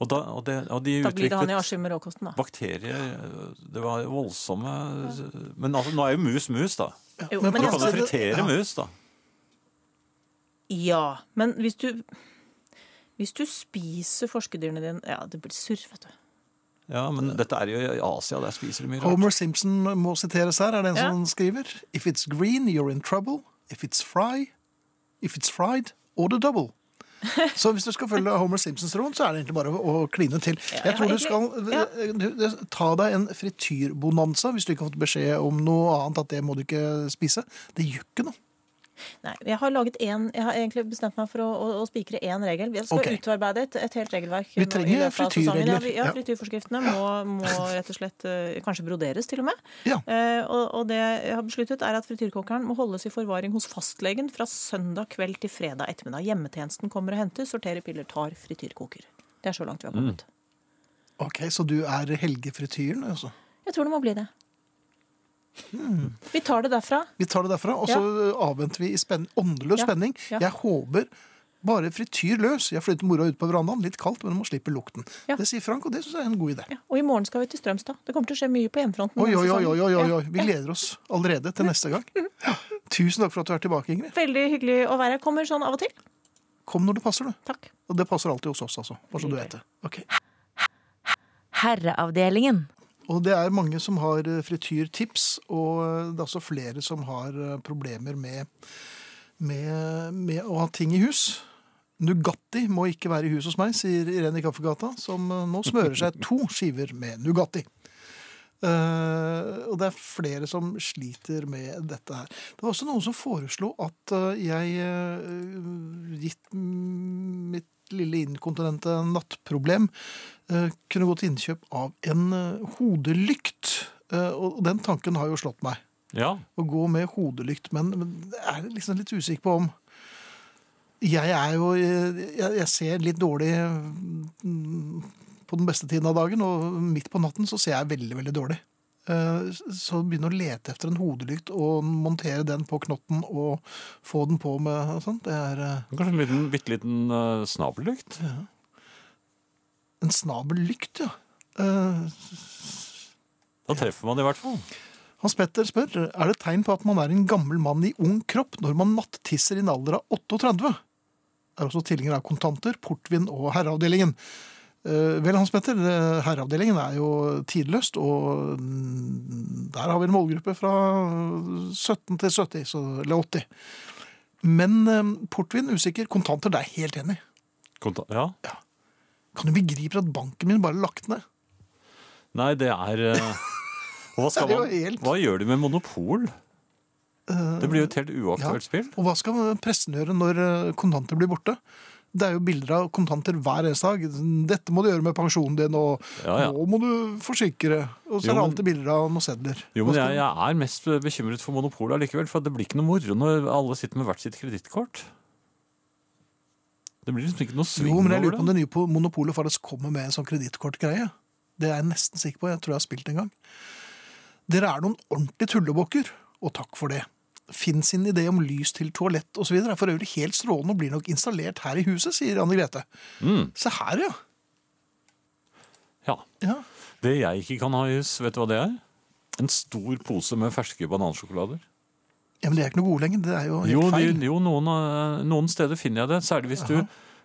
Speaker 2: Og, da, og, det, og de
Speaker 5: Da blir det han i
Speaker 2: utviklet
Speaker 5: Askim med råkosten, da.
Speaker 2: bakterier eh, Det var voldsomme Men altså, nå er jo mus mus, da.
Speaker 5: Jo,
Speaker 1: men
Speaker 5: men
Speaker 2: Du
Speaker 5: altså, jeg
Speaker 2: kan
Speaker 5: skal
Speaker 2: jo fritere
Speaker 1: Ja.
Speaker 2: mus, da.
Speaker 5: Ja, men hvis du hvis du spiser forskerdyrene dine Ja, det blir surr, vet du.
Speaker 2: Ja, men dette er jo i Asia, der spiser de mye rart.
Speaker 1: Homer Simpson må siteres her, er det en
Speaker 5: Ja.
Speaker 1: som skriver. If it's green, you're in trouble. If it's fry, if it's fried, order double. Så hvis du skal følge Homer Simpsons råd, så er det egentlig bare å å kline til. Jeg
Speaker 5: jeg
Speaker 1: tror
Speaker 5: har
Speaker 1: du skal du- du- ta deg en frityrbonanza hvis du ikke har fått beskjed om noe annet, at det må du ikke spise. Det gjør ikke noe.
Speaker 5: Nei, jeg har laget en, jeg har egentlig bestemt meg for å, å, å spikre én regel. Vi skal
Speaker 1: Ok.
Speaker 5: utarbeide et, et helt regelverk.
Speaker 1: Vi
Speaker 5: nå i
Speaker 1: trenger
Speaker 5: løpet av sesongen.
Speaker 1: frityrregler.
Speaker 5: Ja, vi- ja,
Speaker 1: Ja.
Speaker 5: frityrforskriftene må, må rett og slett eh, kanskje broderes, til og med.
Speaker 1: Ja.
Speaker 5: Eh, og, og det jeg har besluttet, er at frityrkokeren må holdes i forvaring hos fastlegen fra søndag kveld til fredag ettermiddag. Hjemmetjenesten kommer og henter, sorterer piller, tar frityrkoker. Det er så langt vi har kommet.
Speaker 1: Ok, så du er helgefrityren, altså.
Speaker 5: Jeg tror det må bli det.
Speaker 1: Hmm.
Speaker 5: Vi tar det derfra.
Speaker 1: Vi tar det derfra, og så avventer vi i spenn åndeløs
Speaker 5: Ja,
Speaker 1: spenning.
Speaker 5: ja.
Speaker 1: Jeg håper bare frityr løs. Jeg flytter mora ut på verandaen, litt kaldt, men hun må slippe lukten.
Speaker 5: Ja.
Speaker 1: Det sier Frank, og det syns jeg er en god idé.
Speaker 5: Ja, og i morgen skal vi til Strømstad. Det kommer til å skje mye på hjemmefronten.
Speaker 1: Oi,
Speaker 5: denne
Speaker 1: oi, oi,
Speaker 5: sesongen.
Speaker 1: oi, oi, oi,
Speaker 5: Ja.
Speaker 1: oi. Vi gleder oss allerede til neste gang. Ja. Tusen takk for at du er tilbake, Ingrid.
Speaker 5: Veldig hyggelig å være her. Kommer sånn av og til.
Speaker 1: Kom når det passer, du.
Speaker 5: Takk.
Speaker 1: Og det passer alltid hos oss, altså. Bare så du vet det. Ok.
Speaker 4: Herreavdelingen.
Speaker 1: Og det er mange som har eh, frityrtips, og eh, det er også flere som har eh, problemer med, med, med å ha ting i hus. Nugatti må ikke være i hus hos meg, sier Irene i Kaffegata, som eh, nå smører seg to skiver med Nugatti. Eh, og det er flere som sliter med dette her. Det var også noen som foreslo at eh, jeg, eh, gitt mm, mitt lille inkontinente nattproblem, eh, kunne gå til innkjøp av en eh, hodelykt. Eh, og den tanken har jo slått meg.
Speaker 2: Ja,
Speaker 1: Å gå med hodelykt, men, men det er jeg liksom litt usikker på om Jeg er jo Jeg, jeg ser litt dårlig mm, på den beste tiden av dagen, og midt på natten så ser jeg veldig, veldig dårlig. Eh, Så begynne å lete etter en hodelykt og montere den på knotten og få den på med og sånt, det er eh,
Speaker 2: Kanskje en liten, bitte liten eh, snabellykt?
Speaker 1: en snabel lykt, ja. Eh,
Speaker 2: Da treffer man det i hvert fall.
Speaker 1: Hans Petter spør er det tegn på at man er en gammel mann i ung kropp når man nattisser i en alder av 38. Er også tilhenger av kontanter, portvin og herreavdelingen. Eh, Vel, Hans Petter, eh, herreavdelingen er jo tidløst, og mm, der har vi en målgruppe fra 17 til 70, så, eller 80. Men eh, portvin, usikker, kontanter, det er jeg helt enig. i.
Speaker 2: Konta ja.
Speaker 1: Kan du begripe at banken min bare er lagt ned?
Speaker 2: Nei, det er
Speaker 1: (laughs)
Speaker 2: eh, og hva,
Speaker 1: Det
Speaker 2: skal
Speaker 1: er jo
Speaker 2: man,
Speaker 1: helt-
Speaker 2: hva gjør de med monopol?
Speaker 1: Eh,
Speaker 2: Det blir jo et helt uaktuelt spill.
Speaker 1: Og hva skal pressen gjøre når eh, kontanter blir borte? Det er jo bilder av kontanter hver eneste dag. Dette må du gjøre med pensjonen din, og
Speaker 2: Ja, ja.
Speaker 1: nå må du forsikre. Og så er
Speaker 2: Jo,
Speaker 1: det
Speaker 2: men-
Speaker 1: alltid bilder av noen sedler.
Speaker 2: Jo, men
Speaker 1: Hva
Speaker 2: jeg,
Speaker 1: skal-
Speaker 2: jeg er mest bekymret for monopolet allikevel, for det blir ikke noe moro når alle sitter med hvert sitt kredittkort. Det blir liksom ikke noe sving
Speaker 1: Jo, men jeg lurer på om
Speaker 2: over det.
Speaker 1: det nye på monopolet faktisk kommer med en sånn kredittkortgreie. Det er jeg nesten sikker på. Jeg tror jeg har spilt det en gang. Dere er noen ordentlige tullebukker, og takk for det. Finn sin idé om lys til toalett osv. er for øvrig helt strålende og blir nok installert her i huset, sier Anne Grete.
Speaker 2: Mm,
Speaker 1: Se her, ja.
Speaker 2: ja.
Speaker 1: ja.
Speaker 2: Det jeg ikke kan ha i hus, vet du hva det er? En stor pose med ferske banansjokolader.
Speaker 1: Ja, Men de er ikke noe gode lenger. Det er jo helt
Speaker 2: Jo, de,
Speaker 1: feil.
Speaker 2: jo noen, eh, noen steder finner jeg det. Særlig hvis du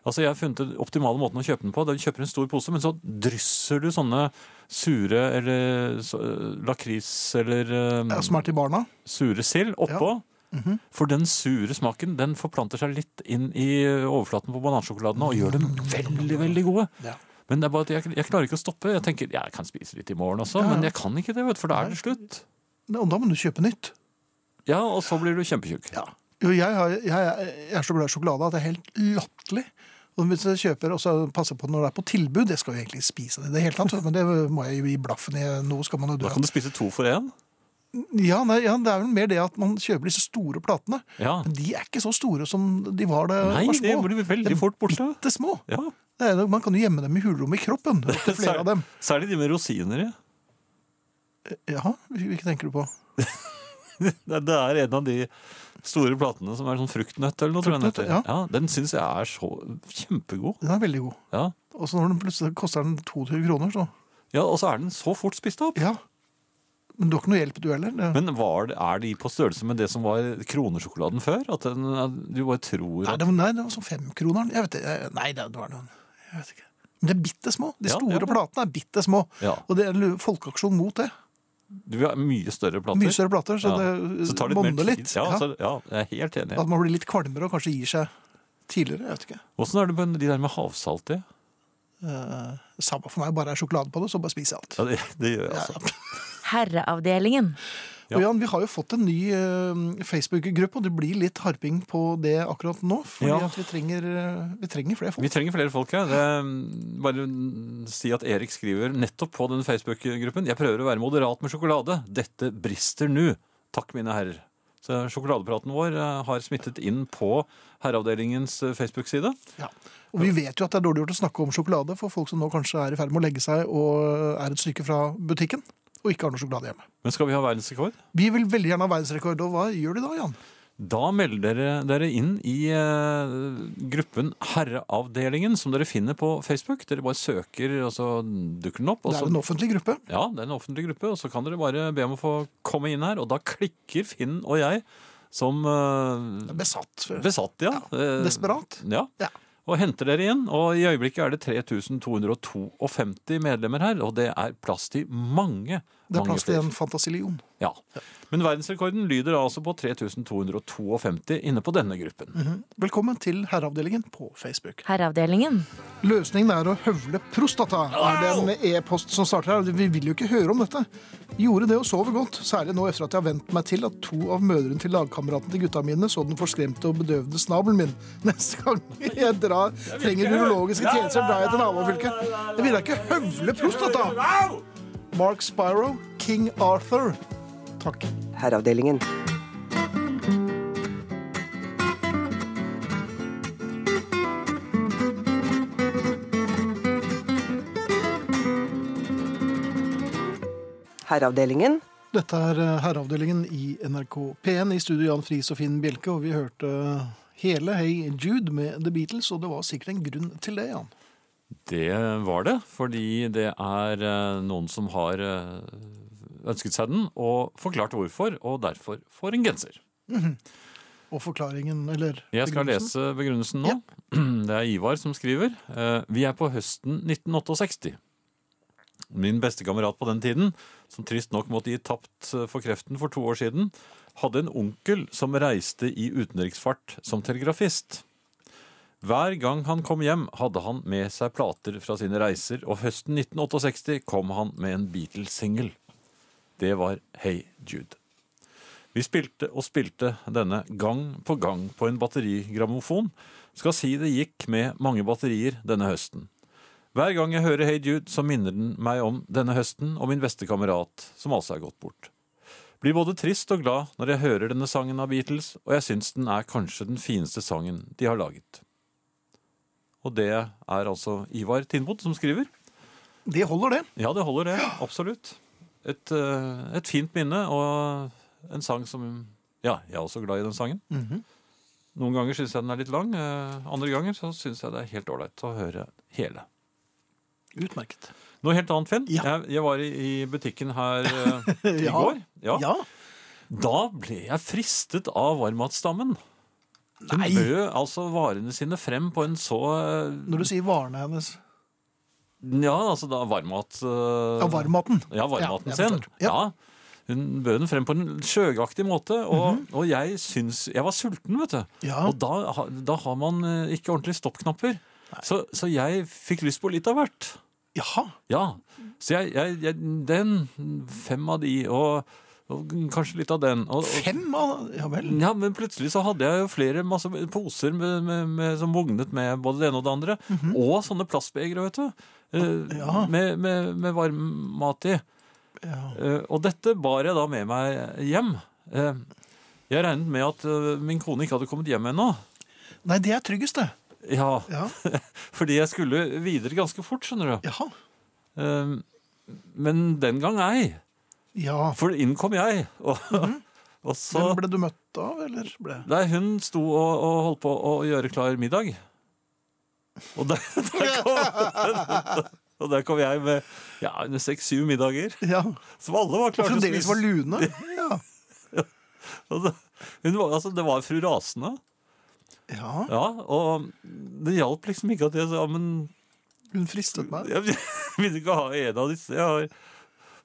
Speaker 2: Altså, Jeg har funnet den optimale måten å kjøpe den på. Det er Du kjøper en stor pose, men så drysser du sånne sure eller så, eh, lakris eller eh,
Speaker 1: Ja, som er til barna.
Speaker 2: sure sild oppå.
Speaker 1: Mhm.
Speaker 2: For den sure smaken den forplanter seg litt inn i eh, overflaten på banansjokoladene og gjør dem veldig, veldig gode.
Speaker 1: Ja.
Speaker 2: Men det er bare at jeg, jeg klarer ikke å stoppe. Jeg tenker jeg kan spise litt i morgen også, men jeg kan ikke det, vet, du, for da er det slutt.
Speaker 1: Og da må du kjøpe nytt.
Speaker 2: Ja, og så blir du kjempetjukk.
Speaker 1: Jo, jeg, har, jeg, er- jeg er så glad i sjokolade at det er helt latterlig. Og hvis jeg kjøper og så passer på det når det er på tilbud, jeg skal jo egentlig ikke spise det i det hele tatt, men det må jeg jo gi blaffen i. Nå skal man jo
Speaker 2: Da
Speaker 1: dø.
Speaker 2: kan du spise to for én.
Speaker 1: Ja, nei, ja, det er vel mer det at man kjøper disse store platene.
Speaker 2: Ja.
Speaker 1: Men de er ikke så store som de var da de
Speaker 2: Nei,
Speaker 1: var
Speaker 2: det
Speaker 1: små.
Speaker 2: blir veldig fort borte.
Speaker 1: Det er små.
Speaker 2: Ja.
Speaker 1: Det er, man kan jo gjemme dem i hulrommet i kroppen. opp til flere av dem.
Speaker 2: Særlig de med rosiner i.
Speaker 1: Jaha, hvilke tenker du på?
Speaker 2: Det det er en av de store platene som er sånn fruktnøtt eller noe. tror jeg den
Speaker 1: Fruktnøtt,
Speaker 2: heter. Ja, den syns jeg er så kjempegod.
Speaker 1: Den er veldig god.
Speaker 2: Ja.
Speaker 1: Og så når den plutselig koster den 22 kroner, så
Speaker 2: ja, Og så er den så fort spist opp.
Speaker 1: ja. Men du har ikke noe hjelp, du heller? Det-
Speaker 2: Men var det, er de på størrelse med det som var kronesjokoladen før? At den, at du bare tror
Speaker 1: Nei,
Speaker 2: at
Speaker 1: det var, nei, det var sånn femkroneren. Jeg vet ikke. jeg- Nei, det var noen Jeg vet ikke. Men det er bitte små. De
Speaker 2: Ja,
Speaker 1: store
Speaker 2: ja.
Speaker 1: platene er bitte små.
Speaker 2: Ja.
Speaker 1: Og det er lu- folkeaksjon mot det.
Speaker 2: du har mye større plater?
Speaker 1: Mye større plater, så
Speaker 2: Ja.
Speaker 1: det
Speaker 2: Så tar det litt
Speaker 1: bånder
Speaker 2: mer tid.
Speaker 1: litt.
Speaker 2: Ja,
Speaker 1: Ja.
Speaker 2: så, ja, jeg er helt enig.
Speaker 1: At man blir litt kvalmere og kanskje gir seg tidligere. Jeg vet ikke.
Speaker 2: Åssen er det med de der med havsalt i?
Speaker 1: Eh, samme for meg, bare er sjokolade på det, så bare spiser jeg alt.
Speaker 2: Ja, det, det gjør jeg, altså.
Speaker 4: Herreavdelingen.
Speaker 2: Ja.
Speaker 1: (laughs) Og Jan, Vi har jo fått en ny eh, Facebook-gruppe, og det blir litt harping på det akkurat nå. fordi
Speaker 2: Ja.
Speaker 1: at vi trenger, eh, vi trenger flere folk.
Speaker 2: Vi trenger flere folk her. Det, mm, bare si at Erik skriver nettopp på den Facebook-gruppen Jeg prøver å være moderat med sjokolade. Dette brister nå. Takk, mine herrer. Så sjokoladepraten vår eh, har smittet inn på herreavdelingens eh, Facebook-side.
Speaker 1: Ja. Og vi vet jo at det er dårlig gjort å snakke om sjokolade for folk som nå kanskje er i ferd med å legge seg og er et stykke fra butikken og ikke har noe sjokolade hjemme.
Speaker 2: Men skal vi ha verdensrekord?
Speaker 1: Vi vil veldig gjerne ha verdensrekord, og hva gjør de da, Jan?
Speaker 2: Da melder dere dere inn i eh, gruppen Herreavdelingen, som dere finner på Facebook. Dere bare søker, og så dukker den opp.
Speaker 1: Det
Speaker 2: Og
Speaker 1: er jo
Speaker 2: så,
Speaker 1: en offentlig gruppe.
Speaker 2: ja, det er en offentlig gruppe, og så kan dere bare be om å få komme inn her. Og da klikker Finn og jeg som eh,
Speaker 1: Det er besatt.
Speaker 2: besatt, ja. Eh,
Speaker 1: Desperat.
Speaker 2: Ja.
Speaker 1: Ja.
Speaker 2: Og henter dere inn. Og i øyeblikket er det 3252 medlemmer her, og det er plass til mange.
Speaker 1: Det er
Speaker 2: mange
Speaker 1: plass til
Speaker 2: flere.
Speaker 1: en fantasilion.
Speaker 2: Ja. Men verdensrekorden lyder altså på 3252 inne på denne gruppen.
Speaker 1: Velkommen til herreavdelingen på Facebook.
Speaker 4: Herreavdelingen.
Speaker 1: Løsningen er å høvle prostata, er den e-post som starter her. Vi vil jo ikke høre om dette. Gjorde det og sover godt, særlig nå etter at jeg har vent meg til at to av mødrene til lagkameratene til gutta mine så den forskremte og bedøvde snabelen min. (laughs) Neste gang jeg drar, trenger urologiske tjenester, drar jeg til nabofylket. Jeg vil da ikke høvle prostata! Mark Spiro, King Arthur. Takk.
Speaker 6: Herreavdelingen. Herreavdelingen.
Speaker 1: Dette er eh, herreavdelingen i NRK P1 i studio Jan Friis og Finn Bjelke, og vi hørte eh, hele Hey Jude med The Beatles, og det var sikkert en grunn til det, Jan.
Speaker 2: Det var det, fordi det er eh, noen som har eh, ønsket seg den og forklart hvorfor, og derfor får en genser.
Speaker 1: Og forklaringen, eller
Speaker 2: Jeg skal
Speaker 1: begrunnelsen.
Speaker 2: lese begrunnelsen nå. (clears throat) Det er Ivar som skriver. Eh, Vi er på høsten 1968. Min bestekamerat på den tiden, som trist nok måtte gi tapt eh, for kreften for to år siden, hadde en onkel som reiste i utenriksfart som telegrafist. Hver gang han kom hjem, hadde han med seg plater fra sine reiser, og høsten 1968 kom han med en Beatles-singel. Det var Hey Jude. Vi spilte og spilte denne gang på gang på en batterigrammofon. Skal si det gikk med mange batterier denne høsten. Hver gang jeg hører Hey Jude, så minner den meg om denne høsten og min beste kamerat, som altså er gått bort. Blir både trist og glad når jeg hører denne sangen av Beatles, og jeg syns den er kanskje den fineste sangen de har laget. Og det er altså Ivar Tindbod som skriver.
Speaker 1: Det holder, det.
Speaker 2: Ja, det holder det. Absolutt. Et, eh, et fint minne og en sang som Ja, jeg er også glad i den sangen.
Speaker 1: Mhm.
Speaker 2: Noen ganger syns jeg den er litt lang. eh, Andre ganger så syns jeg det er helt ålreit å høre hele.
Speaker 1: Utmerket.
Speaker 2: Noe helt annet, Finn.
Speaker 1: Ja.
Speaker 2: Jeg, jeg var i, i butikken her
Speaker 1: (laughs)
Speaker 2: eh, i
Speaker 1: Ja.
Speaker 2: går.
Speaker 1: Ja.
Speaker 2: Da ble jeg fristet av varmmatstammen. Hun
Speaker 1: Nei.
Speaker 2: bød altså varene sine frem på en så eh,
Speaker 1: Når du sier varene hennes
Speaker 2: Ja, altså da varmmat eh,
Speaker 1: Ja, varmmaten.
Speaker 2: Ja, varmmaten
Speaker 1: Ja, jeg
Speaker 2: sin.
Speaker 1: forstår.
Speaker 2: Ja.
Speaker 1: Ja.
Speaker 2: Hun bød den frem på en sjøgaktig måte, og, og jeg syns Jeg var sulten, vet du.
Speaker 1: Mhm. Ja.
Speaker 2: Og da, ha- da har man eh, ikke ordentlige stoppknapper. Så, så jeg fikk lyst på litt av hvert.
Speaker 1: Jaha.
Speaker 2: Ja. Så jeg, jeg, jeg Den. Fem av de, og, og kanskje litt av den. Og, og,
Speaker 1: Fem av Ja vel.
Speaker 2: ja, men plutselig så hadde jeg jo flere masse poser med, med, med, som vognet med både det ene og det andre. Og sånne plastbegre, vet du. eh,
Speaker 1: Mhm. Ja.
Speaker 2: med, med, med varm mat i.
Speaker 1: Ja.
Speaker 2: Eh, og dette bar jeg da med meg hjem. Eh, jeg regnet med at eh, min kone ikke hadde kommet hjem ennå.
Speaker 1: Nei, det er tryggest, det.
Speaker 2: Ja,
Speaker 1: Ja.
Speaker 2: fordi jeg skulle videre ganske fort, skjønner du.
Speaker 1: Jaha.
Speaker 2: Eh, men den gang ei.
Speaker 1: Ja.
Speaker 2: For inn kom jeg. (laughs) Og, og så
Speaker 1: Hvem Mhm. ble du møtt av, eller ble
Speaker 2: Nei, hun sto og, og holdt på å gjøre klar middag. Og der, (laughs) der kom (laughs) Og der kom jeg med ja, seks-syv middager
Speaker 1: Ja.
Speaker 2: som alle var klare til å
Speaker 1: Fremdeles var
Speaker 2: spise.
Speaker 1: lune. Ja.
Speaker 2: Og det- Hun var, altså, det var fru Rasende.
Speaker 1: ja.
Speaker 2: Ja, og det hjalp liksom ikke at jeg sa ja, men
Speaker 1: Hun fristet meg.
Speaker 2: (laughs) jeg vil ikke ha en av disse. Jeg har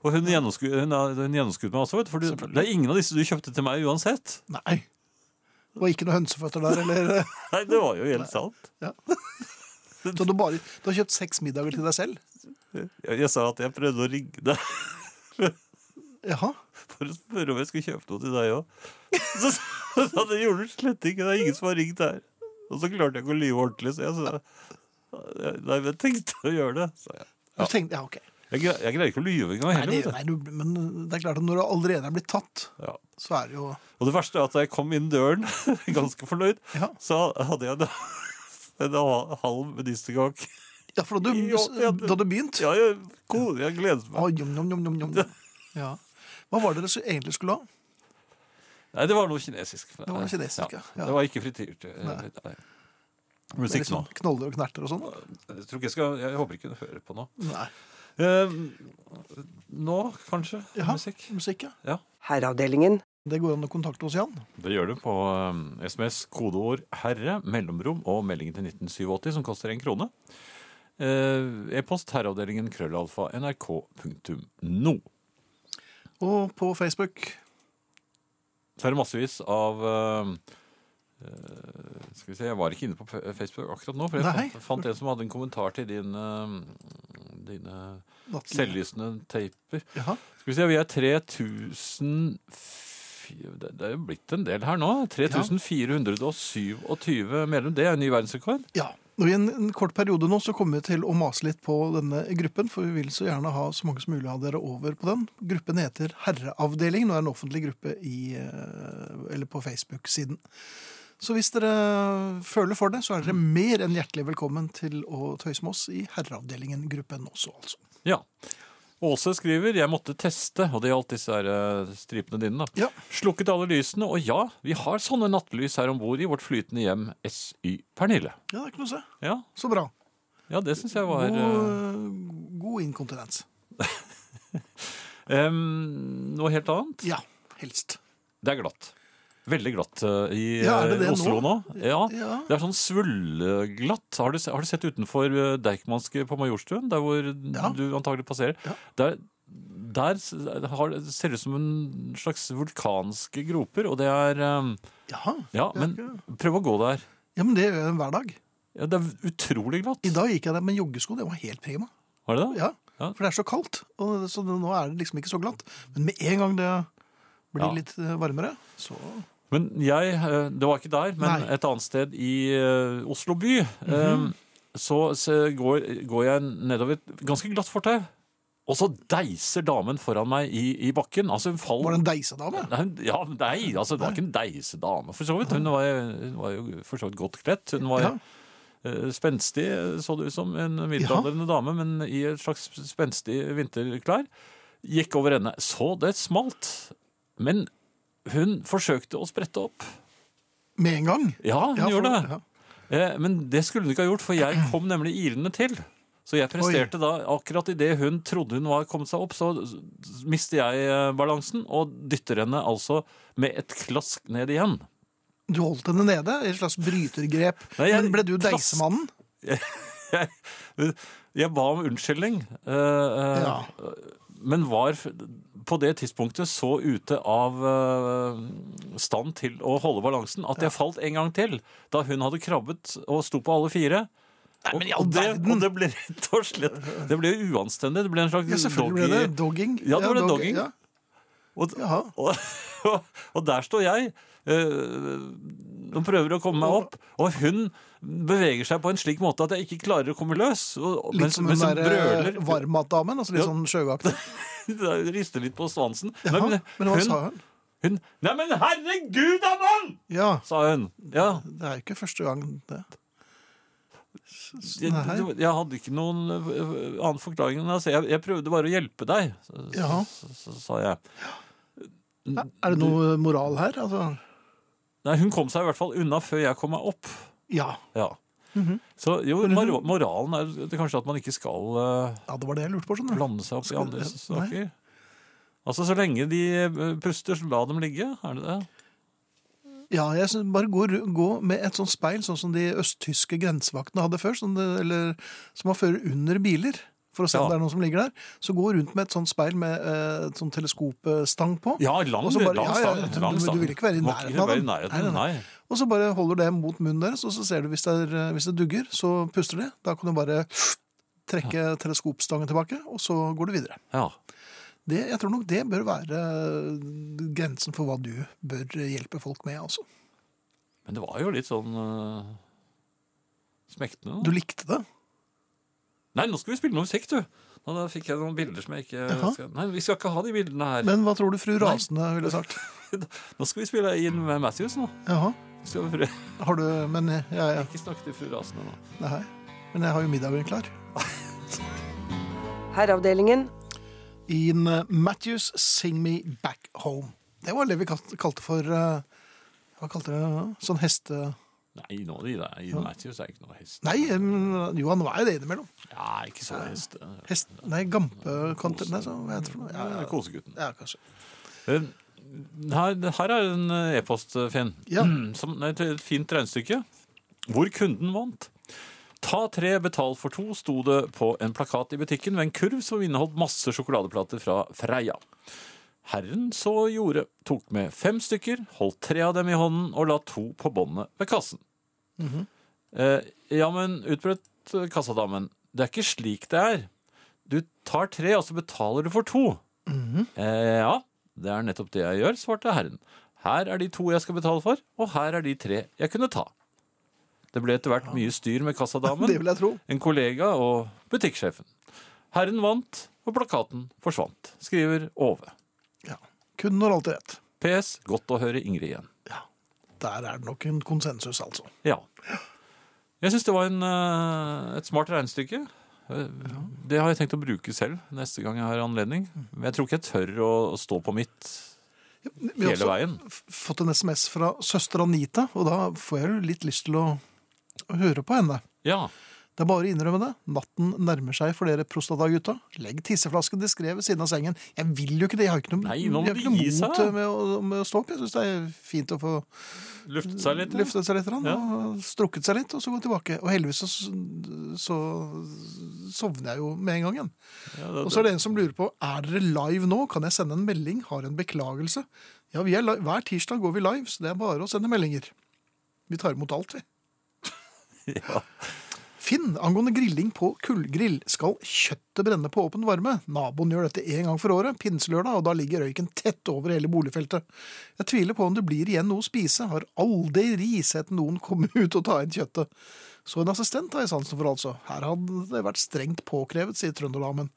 Speaker 2: og hun gjennomskuet, hun, har- hun gjennomskuet meg også, vet du. For du- det er ingen av disse du kjøpte til meg uansett. (laughs)
Speaker 1: Nei. Det var ikke noen hønseføtter der, eller eh,
Speaker 2: Nei, det var jo helt sant.
Speaker 1: Så du, bare, du har kjøpt seks middager til deg selv?
Speaker 2: Jeg, jeg sa at jeg prøvde å rigge deg. (laughs)
Speaker 1: Jaha.
Speaker 2: for å spørre om jeg skulle kjøpe noe til deg òg. (laughs) Så sa han det gjorde du slett ikke, det er ingen som har ringt her. Og så klarte jeg ikke å lyve ordentlig, så jeg sa Nei, men jeg tenkte å gjøre det, sa jeg.
Speaker 1: Du tenkte, ja, ok.
Speaker 2: Jeg, gre- jeg greier ikke å lyve engang
Speaker 1: Nei,
Speaker 2: heller.
Speaker 1: det,
Speaker 2: vet du.
Speaker 1: nei, du, men det er klart at når du allerede er blitt tatt,
Speaker 2: Ja.
Speaker 1: så er det jo
Speaker 2: Og det verste er at da jeg kom inn døren, (laughs) ganske fornøyd,
Speaker 1: Ja.
Speaker 2: så hadde jeg en, (laughs) en ha- halv medisterkake.
Speaker 1: Ja, for da du,
Speaker 2: Ja, ja, det-
Speaker 1: da du begynte
Speaker 2: Ja, jeg, god, jeg gledet meg.
Speaker 1: Å, jom, jom, jom, jom, jom. Ja. Hva var det dere så egentlig skulle ha?
Speaker 2: Nei, det var noe kinesisk.
Speaker 1: var noe kinesisk, ja. Ja.
Speaker 2: Det var ikke frityrt. eh,
Speaker 1: Nei.
Speaker 2: Nei.
Speaker 1: Det er
Speaker 2: Musikk
Speaker 1: litt
Speaker 2: nå.
Speaker 1: sånn Knoller og knerter og sånn? da.
Speaker 2: Jeg, tror ikke jeg, skal, jeg håper ikke hun hører på nå.
Speaker 1: Nei. Ehm,
Speaker 2: Eh, nå, kanskje.
Speaker 1: Ja.
Speaker 2: Musikk.
Speaker 1: Musikk, ja.
Speaker 2: Ja.
Speaker 6: Herreavdelingen.
Speaker 1: Det går an å kontakte oss, Jan.
Speaker 2: Det gjør du på eh, SMS, kodeord 'herre', mellomrom og meldingen til 1987, som koster én krone. Eh, E-post herreavdelingen krøllalfa nrk.no.
Speaker 1: Og på Facebook.
Speaker 2: Så er det massevis av eh, eh, Skal vi se, jeg var ikke inne på Fe- Facebook akkurat nå, for jeg
Speaker 1: Nei.
Speaker 2: fant, fant en som hadde en kommentar til din, eh, dine
Speaker 1: Natten.
Speaker 2: selvlysende teiper.
Speaker 1: Jaha.
Speaker 2: Skal vi se, vi er 3000 fy- Det det er jo blitt en del her nå. 3427 medlem. Det er en ny verdensrekord.
Speaker 1: Ja. Og I en, en kort periode nå så kommer vi til å mase litt på denne gruppen, for vi vil så gjerne ha så mange som mulig av dere over på den. Gruppen heter Herreavdelingen og er en offentlig gruppe i, eh, eller på Facebook-siden. Så hvis dere føler for det, så er dere mer enn hjertelig velkommen til å tøyse med oss i Herreavdelingen-gruppen også, altså.
Speaker 2: Ja. Åse skriver jeg måtte teste, og det gjaldt disse her eh, stripene dine. da.
Speaker 1: Ja.
Speaker 2: Slukket alle lysene, og ja, vi har sånne nattlys her om bord i vårt flytende hjem SY Pernille.
Speaker 1: Ja, det er ikke noe å se.
Speaker 2: Ja,
Speaker 1: Så bra.
Speaker 2: ja det syns jeg var
Speaker 1: God,
Speaker 2: eh,
Speaker 1: eh, god inkontinens.
Speaker 2: eh, em, Noe helt annet.
Speaker 1: Ja, helst.
Speaker 2: Det er glatt. Veldig glatt eh, i
Speaker 1: Ja, er det
Speaker 2: eh,
Speaker 1: det
Speaker 2: Oslo nå. Ja.
Speaker 1: Ja.
Speaker 2: Det er sånn svulleglatt. Har du, se- har du sett utenfor eh, Deichmanske på Majorstuen, der hvor
Speaker 1: Ja.
Speaker 2: du antagelig passerer?
Speaker 1: Ja.
Speaker 2: Der, der s- har, ser det ut som en slags vulkanske groper, og det er eh,
Speaker 1: Jaha. Det
Speaker 2: Ja,
Speaker 1: er
Speaker 2: men
Speaker 1: ikke-
Speaker 2: prøv å gå der.
Speaker 1: Ja, men det gjør jeg hver dag.
Speaker 2: Ja, det er utrolig glatt.
Speaker 1: I dag gikk jeg der med joggesko, det var helt prima.
Speaker 2: Var det det?
Speaker 1: Ja,
Speaker 2: Ja.
Speaker 1: For det er så kaldt, og så det, nå er det liksom ikke så glatt. Men med en gang det blir
Speaker 2: Ja.
Speaker 1: litt eh, varmere, så
Speaker 2: Men jeg, eh, det var ikke der, men
Speaker 1: Nei. Mhm.
Speaker 2: et annet sted i eh, Oslo by, eh, så, så går, går jeg nedover et ganske glatt fortau, og så deiser damen foran meg i, i bakken. Altså hun faller.
Speaker 1: var det en deisedame.
Speaker 2: Nei, hun- ja, nei, altså det var ikke en deisedame for så vidt. Hun var, hun var jo for så vidt godt kledd. Hun var
Speaker 1: Ja.
Speaker 2: eh, Spenstig eh, så det ut som en middelaldrende dame, men i et slags spenstig vinterklær. Gikk over ende. Så det smalt. Men hun forsøkte å sprette opp.
Speaker 1: Med en gang.
Speaker 2: Ja, hun
Speaker 1: Ja, for-
Speaker 2: gjorde det.
Speaker 1: ja.
Speaker 2: Eh, Men det skulle hun ikke ha gjort, for jeg kom nemlig ilende til. Så jeg presterte da, akkurat idet hun trodde hun var kommet seg opp, så s- mister jeg eh, balansen og dytter henne altså med et klask ned igjen.
Speaker 1: Du holdt henne nede i et slags brytergrep.
Speaker 2: Nei, jeg-
Speaker 1: Men ble du
Speaker 2: Klask.
Speaker 1: deisemannen?
Speaker 2: Jeg ba om unnskyldning, eh, eh,
Speaker 1: Ja.
Speaker 2: men var f- på det tidspunktet så ute av eh, stand til å holde balansen at jeg falt en gang til, da hun hadde krabbet og sto på alle fire. Og,
Speaker 1: men i all
Speaker 2: og, det,
Speaker 1: verden!
Speaker 2: og det ble rett og slett Det ble uanstendig. Det ble en slags
Speaker 1: Ja, selvfølgelig ble
Speaker 2: doggy-
Speaker 1: det dogging.
Speaker 2: Ja, det ble dogging.
Speaker 1: Ja.
Speaker 2: Og,
Speaker 1: Jaha.
Speaker 2: og, og, og der står jeg eh, og prøver å komme meg opp, og hun beveger seg på en slik måte at jeg ikke klarer å komme løs. Og, og-
Speaker 1: Litt
Speaker 2: mens,
Speaker 1: som den
Speaker 2: mens hun
Speaker 1: der
Speaker 2: brøler,
Speaker 1: eh,
Speaker 2: (laughs)
Speaker 1: varmmatdamen, altså litt
Speaker 2: Ja.
Speaker 1: sånn sjøaktig.
Speaker 2: rister litt på svansen.
Speaker 1: Ja,
Speaker 2: men,
Speaker 1: men hva
Speaker 2: hun,
Speaker 1: sa hun?
Speaker 2: hun Nei, men herregud, Amand!
Speaker 1: Ja,
Speaker 2: sa hun. Ja,
Speaker 1: det er jo ikke første gang det.
Speaker 2: jeg,
Speaker 1: Nei.
Speaker 2: det var- jeg hadde ikke noen ø, ø, annen forklaring enn altså, jeg, jeg prøvde bare å hjelpe deg, så,
Speaker 1: Jaha.
Speaker 2: så, så, sa jeg.
Speaker 1: Er det noe moral her? Altså,
Speaker 2: Nei, hun kom seg i hvert fall unna før jeg kom meg opp.
Speaker 1: ja.
Speaker 2: Ja.
Speaker 1: Mhm.
Speaker 2: Så jo, mor moralen er det kanskje at man ikke skal eh,
Speaker 1: ja, det var det jeg lurte på. skjønner du.
Speaker 2: blande seg opp i
Speaker 1: Skal-
Speaker 2: andres
Speaker 1: nei.
Speaker 2: saker. Altså, så lenge de eh, puster, så la dem ligge. Er det det?
Speaker 1: Ja, jeg synes Bare gå, ru- gå med et sånt speil, sånn som de østtyske grensevaktene hadde før. Som, det, eller, som man fører under biler, for å se
Speaker 2: Ja.
Speaker 1: om det er noen som ligger der. Så gå rundt med et sånt speil med eh, et sånt teleskopstang på.
Speaker 2: Ja, lang,
Speaker 1: Og så bare-
Speaker 2: lang
Speaker 1: ja, ja,
Speaker 2: stang.
Speaker 1: du-
Speaker 2: lang
Speaker 1: du- du
Speaker 2: stang.
Speaker 1: vil ikke være i
Speaker 2: Må
Speaker 1: nærheten
Speaker 2: ikke
Speaker 1: av
Speaker 2: være i
Speaker 1: dem.
Speaker 2: nærheten,
Speaker 1: Nei,
Speaker 2: Nei,
Speaker 1: Og så bare holder du det mot munnen deres, og så ser du hvis det, er, eh, hvis det dugger, så puster de. Da kan du bare trekke teleskopstangen tilbake, og så går du videre.
Speaker 2: Ja.
Speaker 1: Det, jeg tror nok det bør være grensen for hva du bør hjelpe folk med, altså.
Speaker 2: Men det var jo litt sånn uh, smektende.
Speaker 1: Du
Speaker 2: da.
Speaker 1: likte det?
Speaker 2: Nei, nå skal vi spille noe musikk, du! Og da fikk jeg noen bilder som jeg ikke
Speaker 1: Jaha.
Speaker 2: skal... Nei, vi skal ikke ha de bildene her. (laughs)
Speaker 1: Men hva tror du fru Rasende ville sagt?
Speaker 2: Nå skal vi spille inn med Matthews nå.
Speaker 1: Jaha,
Speaker 2: Skal vi prøve-
Speaker 1: har du Men jeg, jeg,
Speaker 2: (laughs) Ikke snakke til fru Rasende nå.
Speaker 1: nei, men jeg har jo middagen klar.
Speaker 6: Herreavdelingen.
Speaker 1: Ian eh, Matthews, 'Sing Me Back Home'. Det var det vi kalt- kalte for eh, Hva kalte vi det? Sånn heste...
Speaker 2: Nei, nå, de der. Ian Matthews er ikke noe hest.
Speaker 1: Nei, em, jo, han var jo det innimellom.
Speaker 2: Ja, ikke så hest. eh,
Speaker 1: Hest, nei, gampekant... Nei, så, hva heter det for noe? Ja, ja, ja.
Speaker 2: Kosegutten.
Speaker 1: ja, kanskje.
Speaker 2: Eh, Her, her er en eh, e-post, eh, Finn.
Speaker 1: Ja.
Speaker 2: Mm, (clears throat) Som, nei, et fint regnestykke. Hvor kunden vant. Ta tre, betal for to, sto det på en plakat i butikken ved en kurv som inneholdt masse sjokoladeplater fra Freia. Herren så gjorde, tok med fem stykker, holdt tre av dem i hånden og la to på båndet ved kassen. eh, ja, men utbrøt eh, kassadamen, det er ikke slik det er. Du tar tre, og så betaler du for to. Eh, ja, det er nettopp det jeg gjør, svarte herren. Her er de to jeg skal betale for, og her er de tre jeg kunne ta. Det ble etter hvert mye styr med
Speaker 1: Det
Speaker 2: kassadamen,
Speaker 1: vil jeg tro.
Speaker 2: en kollega og butikksjefen. Herren vant, og plakaten forsvant, skriver Ove.
Speaker 1: Ja. Kunden har alltid rett.
Speaker 2: PS, godt å høre Ingrid igjen.
Speaker 1: Der er det nok en konsensus, altså.
Speaker 2: Ja. Jeg syns det var en, eh, et smart regnestykke. Eh, Det har jeg tenkt å bruke selv neste gang jeg har anledning. Men jeg tror ikke jeg tør å å stå på mitt
Speaker 1: Vi har
Speaker 2: hele
Speaker 1: også
Speaker 2: veien.
Speaker 1: f- fått en SMS fra søster Anita, og da får jeg jo litt lyst til å å høre på henne.
Speaker 2: Ja.
Speaker 1: Det er bare å innrømme det. Natten nærmer seg for dere prostatagutta. Legg tisseflasken diskré ved siden av sengen. Jeg vil jo ikke det. Jeg har ikke noe,
Speaker 2: Nei,
Speaker 1: jeg
Speaker 2: nå må
Speaker 1: har ikke
Speaker 2: de gi
Speaker 1: noe
Speaker 2: seg.
Speaker 1: mot eh, med å, med å stå opp. Jeg syns det er fint å få
Speaker 2: Luftet seg litt. ja.
Speaker 1: løftet seg litt, grann,
Speaker 2: Ja.
Speaker 1: og strukket seg litt, og så gå tilbake. Og heldigvis så, så sovner jeg jo med en gang igjen.
Speaker 2: Ja, det-
Speaker 1: Og så er det en som lurer på er dere live nå. Kan jeg sende en melding? Har en beklagelse. Ja, vi er live. Hver tirsdag går vi live, så det er bare å sende meldinger. Vi tar imot alt, vi.
Speaker 2: Ja.
Speaker 1: Finn, angående grilling på kullgrill, skal kjøttet brenne på åpen varme? Naboen gjør dette én gang for året, pinselørdag, og da ligger røyken tett over hele boligfeltet. Jeg tviler på om det blir igjen noe å spise, har aldri sett noen komme (laughs) ut og ta inn kjøttet. Så en assistent har jeg sansen for, altså. Her hadde det vært strengt påkrevet, sier trønderdamen.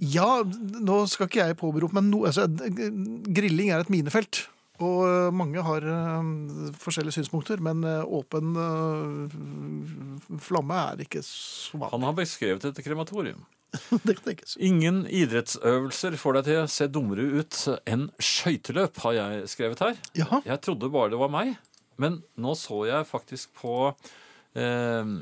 Speaker 1: Ja, nå skal ikke jeg påberope meg noe altså, Grilling er et minefelt. Og eh, mange har eh, forskjellige synspunkter, men eh, åpen eh, flamme er ikke så
Speaker 2: Han
Speaker 1: vanlig.
Speaker 2: har beskrevet et krematorium.
Speaker 1: (laughs) Det kan tenkes.
Speaker 2: Ingen idrettsøvelser får deg til å se dummere ut enn skøyteløp, har jeg skrevet her.
Speaker 1: Jaha.
Speaker 2: Jeg trodde bare det var meg, men nå så jeg faktisk på eh,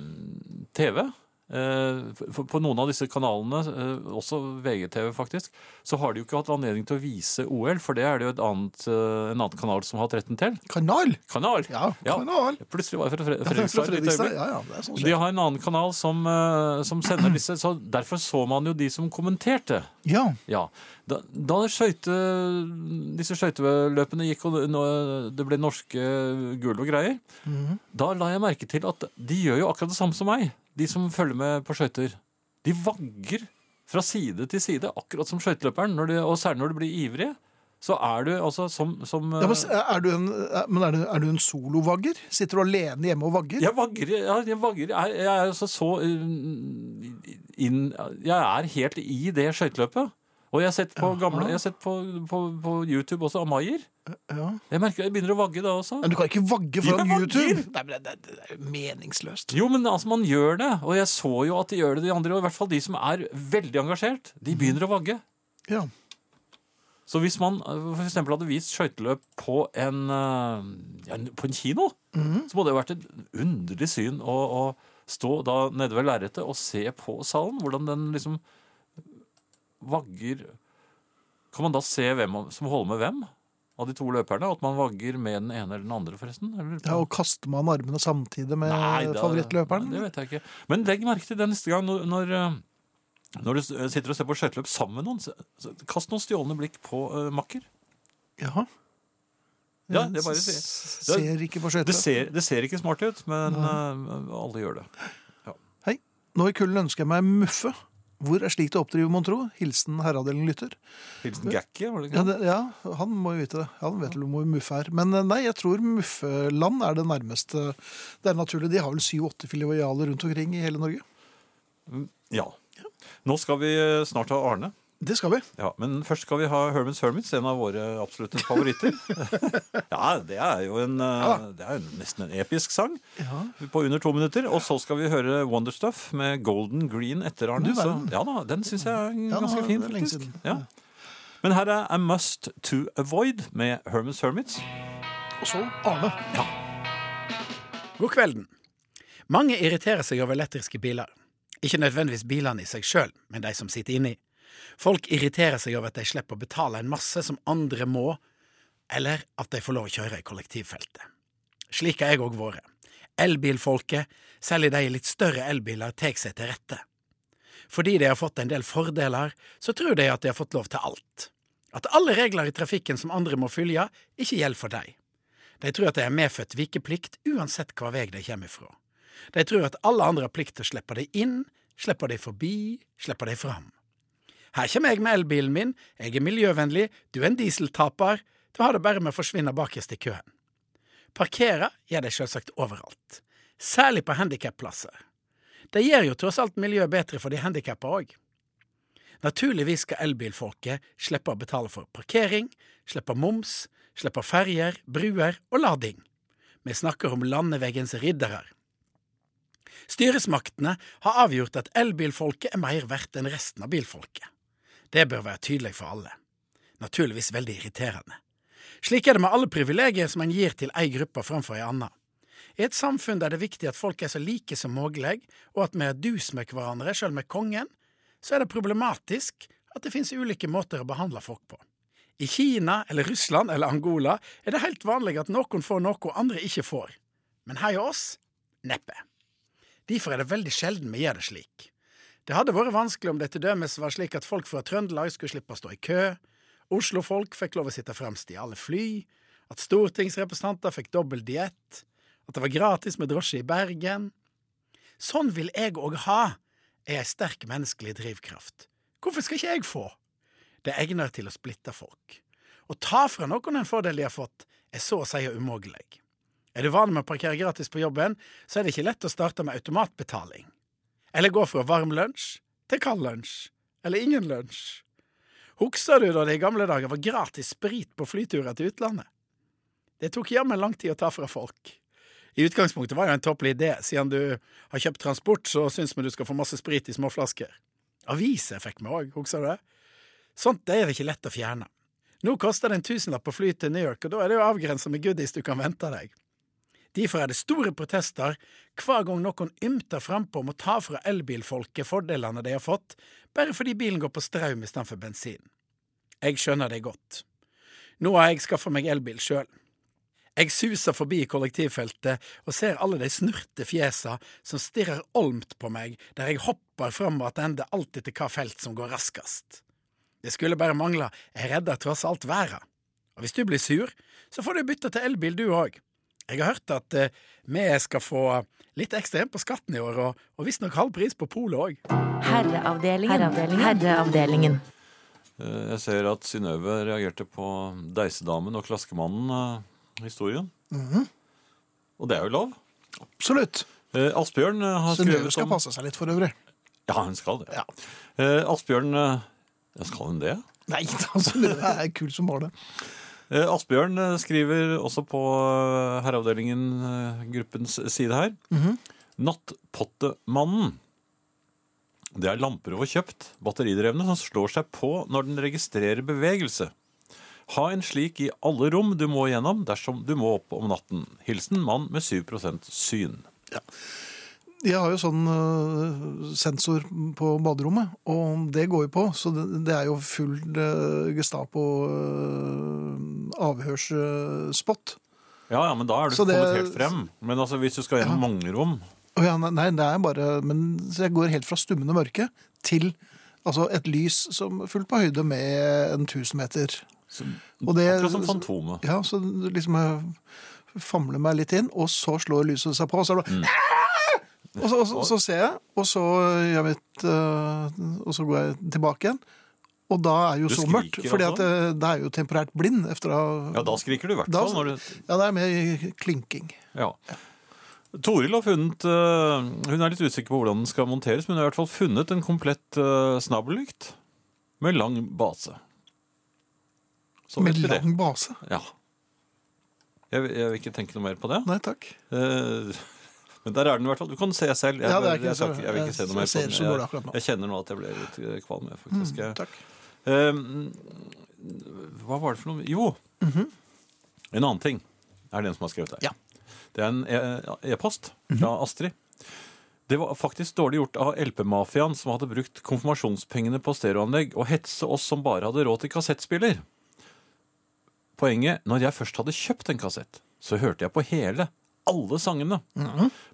Speaker 2: TV eh, for- På noen av disse kanalene, eh, også VGTV faktisk, så har de jo ikke hatt anledning til å vise OL, for det er det jo et annet, eh, en annen kanal som har hatt retten til.
Speaker 1: Kanal!
Speaker 2: Kanal!
Speaker 1: Ja,
Speaker 2: Ja.
Speaker 1: kanal.
Speaker 2: Plutselig var jeg fra
Speaker 1: Ja,
Speaker 2: Fre-
Speaker 1: det er fra
Speaker 2: Fredrikstad. et lite
Speaker 1: Fredrikstad.
Speaker 2: øyeblikk.
Speaker 1: Ja, ja, det er sånn
Speaker 2: De
Speaker 1: skjer.
Speaker 2: har en annen kanal som, eh, som sender disse, så derfor så man jo de som kommenterte.
Speaker 1: Ja,
Speaker 2: Ja, Da, da skøyte, disse skøyteløpene gikk og nå- det ble norske gull og greier,
Speaker 1: Mhm.
Speaker 2: da la jeg merke til at de gjør jo akkurat det samme som meg, de som følger med på skøyter. De vagger fra side til side, akkurat som skøyteløperen, når de- og særlig når du blir ivrig. Så er du altså som, som
Speaker 1: ja men, s- eh, er du en, men er du, er du en solovagger? Sitter du alene hjemme og vagger?
Speaker 2: Jeg vagrer. ja, Jeg, vagrer. Jeg, jeg er altså så uh, inn, Jeg er helt i det skøyteløpet. Og jeg har sett på, gamle, jeg har sett på, på, på YouTube også Amayer.
Speaker 1: Ja.
Speaker 2: Jeg merker jeg begynner å vagge da også.
Speaker 1: Men du kan ikke vagge
Speaker 2: Jeg
Speaker 1: foran
Speaker 2: vagger!
Speaker 1: YouTube! Nei, men det, det, det er jo meningsløst.
Speaker 2: Jo, men altså, man gjør det. Og jeg så jo at de gjør det, de andre. Og i hvert fall de som er veldig engasjert. De
Speaker 1: Mhm.
Speaker 2: begynner å vagge.
Speaker 1: Ja.
Speaker 2: Så hvis man uh, for eksempel hadde vist skøyteløp på en, uh, ja, på en kino,
Speaker 1: Mhm.
Speaker 2: så må det jo vært et underlig syn å, å stå da nede ved lerretet og se på salen, hvordan den liksom vagger Kan man da se hvem av- som holder med hvem av de to løperne? At man vagger med den ene eller den andre, forresten? Eller?
Speaker 1: ja, Og kaster man armene samtidig med
Speaker 2: Nei, da-
Speaker 1: Eh, favorittløperen?
Speaker 2: Det vet jeg ikke. Men legg merke til det neste gang når, når uh, når du s- eh, sitter og ser på skøyteløp sammen med noen, så- så kast noen stjålne blikk på uh, makker.
Speaker 1: Jaha. Eh,
Speaker 2: Ja, det er bare å si.
Speaker 1: S-
Speaker 2: Det er-
Speaker 1: Ser ikke på skøyter.
Speaker 2: Det ser, det ser ikke smart ut, men eh, alle gjør det.
Speaker 1: Hei, nå i kulden ønsker jeg meg muffe. Hvor er slik det oppdriver, mon tro? Hilsen herreavdelingen lytter.
Speaker 2: Hilsen Gacki, var det
Speaker 1: Ja,
Speaker 2: ikke?
Speaker 1: det, ja, han må jo vite det. Han vet vel hvor muffe er. Men eh, nei, jeg tror muffeland er det nærmeste. Det er naturlig. De har vel 7-8 filialer rundt omkring i hele Norge.
Speaker 2: Ja. Nå skal vi eh, snart ha Arne.
Speaker 1: Det skal vi.
Speaker 2: Ja, men først skal vi ha Hermans Hermits, en av våre absolutte favoritter. (laughs) ja, det er jo en, eh, det er jo nesten en episk sang på under to minutter. Og så skal vi høre Wonderstuff med Golden Green etter Arne.
Speaker 1: Du
Speaker 2: så,
Speaker 1: verden.
Speaker 2: ja da, den syns jeg
Speaker 1: Ja,
Speaker 2: er
Speaker 1: nå
Speaker 2: ganske
Speaker 1: er
Speaker 2: fin,
Speaker 1: det lenge
Speaker 2: faktisk.
Speaker 1: siden.
Speaker 2: Ja. Men her er A Must To Avoid med Hermans Hermits.
Speaker 1: Og så Arne.
Speaker 6: God kvelden. Mange irriterer seg over elektriske biler. Ikke nødvendigvis bilene i seg sjøl, men de som sitter inni. Folk irriterer seg over at de slipper å betale en masse som andre må, eller at de får lov å kjøre i kollektivfeltet. Slik har jeg òg vært. Elbilfolket, særlig de i litt større elbiler, tar seg til rette. Fordi de har fått en del fordeler, så tror de at de har fått lov til alt. At alle regler i trafikken som andre må følge, ikke gjelder for dem. De tror at de har medfødt vikeplikt uansett hva vei de kommer fra. De tror at alle andre har plikt til å slippe de inn, slippe de forbi, slippe de fram. Her kommer jeg med elbilen min, jeg er miljøvennlig, du er en dieseltaper, du har det bare med å forsvinne bakerst i køen. Parkere gjør de selvsagt overalt, særlig på handikapplasser. De gjør jo tross alt miljøet bedre for de handikappa òg. Naturligvis skal elbilfolket slippe å betale for parkering, slippe moms, slippe ferjer, bruer og lading. Vi snakker om landeveggens riddere. Styresmaktene har avgjort at elbilfolket er mer verdt enn resten av bilfolket. Det bør være tydelig for alle. Naturligvis veldig irriterende. Slik er det med alle privilegier som en gir til ei gruppe framfor ei anna. I et samfunn der det er viktig at folk er så like som mulig, og at vi er dus med hverandre, sjøl med kongen, så er det problematisk at det finnes ulike måter å behandle folk på. I Kina eller Russland eller Angola er det helt vanlig at noen får noe andre ikke får, men her hos oss neppe. Derfor er det veldig sjelden vi gjør det slik. Det hadde vært vanskelig om det til dømes var slik at folk fra Trøndelag skulle slippe å stå i kø, Oslo-folk fikk lov å sitte fremst i alle fly, at stortingsrepresentanter fikk dobbel diett, at det var gratis med drosje i Bergen. Sånn vil jeg òg ha, er ei sterk menneskelig drivkraft. Hvorfor skal ikke jeg få? Det egner til å splitte folk. Å ta fra noen en fordel de har fått, er så å si umulig. Er du vant med å parkere gratis på jobben, så er det ikke lett å starte med automatbetaling. Eller gå fra varm lunsj til kald lunsj. Eller ingen lunsj. Husker du da det i gamle dager var gratis sprit på flyturer til utlandet? Det tok jammen lang tid å ta fra folk. I utgangspunktet var det jo en toppelig idé. Siden du har kjøpt transport, så syns vi du skal få masse sprit i småflasker. Aviser fikk vi òg, husker du det? Sånt det er det ikke lett å fjerne. Nå koster det en tusenlapp å fly til New York, og da er det jo avgrensa med goodies du kan vente deg. Derfor er det store protester hver gang noen ymter frampå om å ta fra elbilfolket fordelene de har fått, bare fordi bilen går på strøm istedenfor bensin. Jeg skjønner det godt. Nå har jeg skaffa meg elbil sjøl. Jeg suser forbi kollektivfeltet og ser alle de snurte fjesa som stirrer olmt på meg der jeg hopper fram og tilbake alt etter hva felt som går raskest. Det skulle bare mangle, jeg redder tross alt verden. Og hvis du blir sur, så får du bytte til elbil du òg. Jeg har hørt at eh, vi skal få litt ekstra igjen på skatten i år, og, og visstnok halv pris på polet òg.
Speaker 4: Herreavdelingen. Herreavdelingen. Herreavdelingen.
Speaker 2: Eh, Jeg ser at Synnøve reagerte på Deisedamen og Klaskemannen-historien.
Speaker 1: Mhm.
Speaker 2: Og det er jo lov.
Speaker 1: Absolutt.
Speaker 2: Eh, Asbjørn eh, har
Speaker 1: Synnøve
Speaker 2: skrevet
Speaker 1: skal
Speaker 2: om
Speaker 1: passe seg litt for øvrig.
Speaker 2: Ja, hun skal det.
Speaker 1: Ja.
Speaker 2: Eh, Asbjørn eh, ja, Skal hun det?
Speaker 1: Nei, (laughs) da, Synnøve er kul som bare det.
Speaker 2: Eh, Asbjørn eh, skriver også på eh, Herreavdelingen-gruppens eh, side her.
Speaker 1: Mhm.
Speaker 2: Nattpottemannen. Det er lamper over kjøpt, batteridrevne, som slår seg på når den registrerer bevegelse. Ha en slik i alle rom du må igjennom dersom du må opp om natten. Hilsen mann med 7 syn.
Speaker 1: Jeg har jo sånn øh, sensor på baderommet, og det går jo på. Så det, det er jo full eh, øh, Gestapo-avhørsspott.
Speaker 2: Ja, ja, men da er du
Speaker 1: Så det-
Speaker 2: kommet helt frem. Men altså, hvis du skal gjennom mange rom
Speaker 1: Å ja, nei, nei, det er bare Men så jeg går helt fra stummende mørke til altså et lys som fullt på høyde med en 1000 meter. Og det-
Speaker 2: Akkurat som Fantomet.
Speaker 1: Ja, så liksom jeg famler meg litt inn, og så slår lyset seg på, og så er det
Speaker 2: Mm.
Speaker 1: bare og så, og, så, så ser jeg, og så gjør jeg mitt øh, Og så går jeg tilbake igjen. Og da er jo
Speaker 2: Du
Speaker 1: så
Speaker 2: skriker
Speaker 1: mørkt, for da
Speaker 2: altså?
Speaker 1: er jeg jo temporært blind. Efter å,
Speaker 2: Ja, da skriker du i hvert
Speaker 1: Da-
Speaker 2: fall. Når du,
Speaker 1: ja, det er mer klinking.
Speaker 2: Ja. Toril har funnet eh, Hun er litt usikker på hvordan den skal monteres, men hun har i hvert fall funnet en komplett eh, snabellykt med lang base. Så
Speaker 1: Med
Speaker 2: vet vi det.
Speaker 1: lang base.
Speaker 2: Ja. Jeg, vil- jeg vil ikke tenke noe mer på det.
Speaker 1: Nei takk.
Speaker 2: Eh, men der er den i hvert fall. Du kan se selv. Jeg,
Speaker 1: Ja, det er ikke
Speaker 2: jeg,
Speaker 1: så-
Speaker 2: skal ikke- jeg vil ikke se
Speaker 1: jeg
Speaker 2: noe mer på
Speaker 1: ser
Speaker 2: den.
Speaker 1: så går det akkurat
Speaker 2: Jeg,
Speaker 1: nå. Mm.
Speaker 2: jeg kjenner nå at jeg ble litt eh, kvalm, jeg, faktisk. Jeg-
Speaker 1: takk.
Speaker 2: Eh, Ehm, hva var det for noe Jo. En annen ting er den som har skrevet her.
Speaker 1: Ja.
Speaker 2: Det er en e- e-post fra Astrid. Det var faktisk dårlig gjort av LP-mafiaen som hadde brukt konfirmasjonspengene på stereoanlegg og hetse oss som bare hadde råd til kassettspiller. Poenget, når jeg først hadde kjøpt en kassett, så hørte jeg på hele, alle sangene.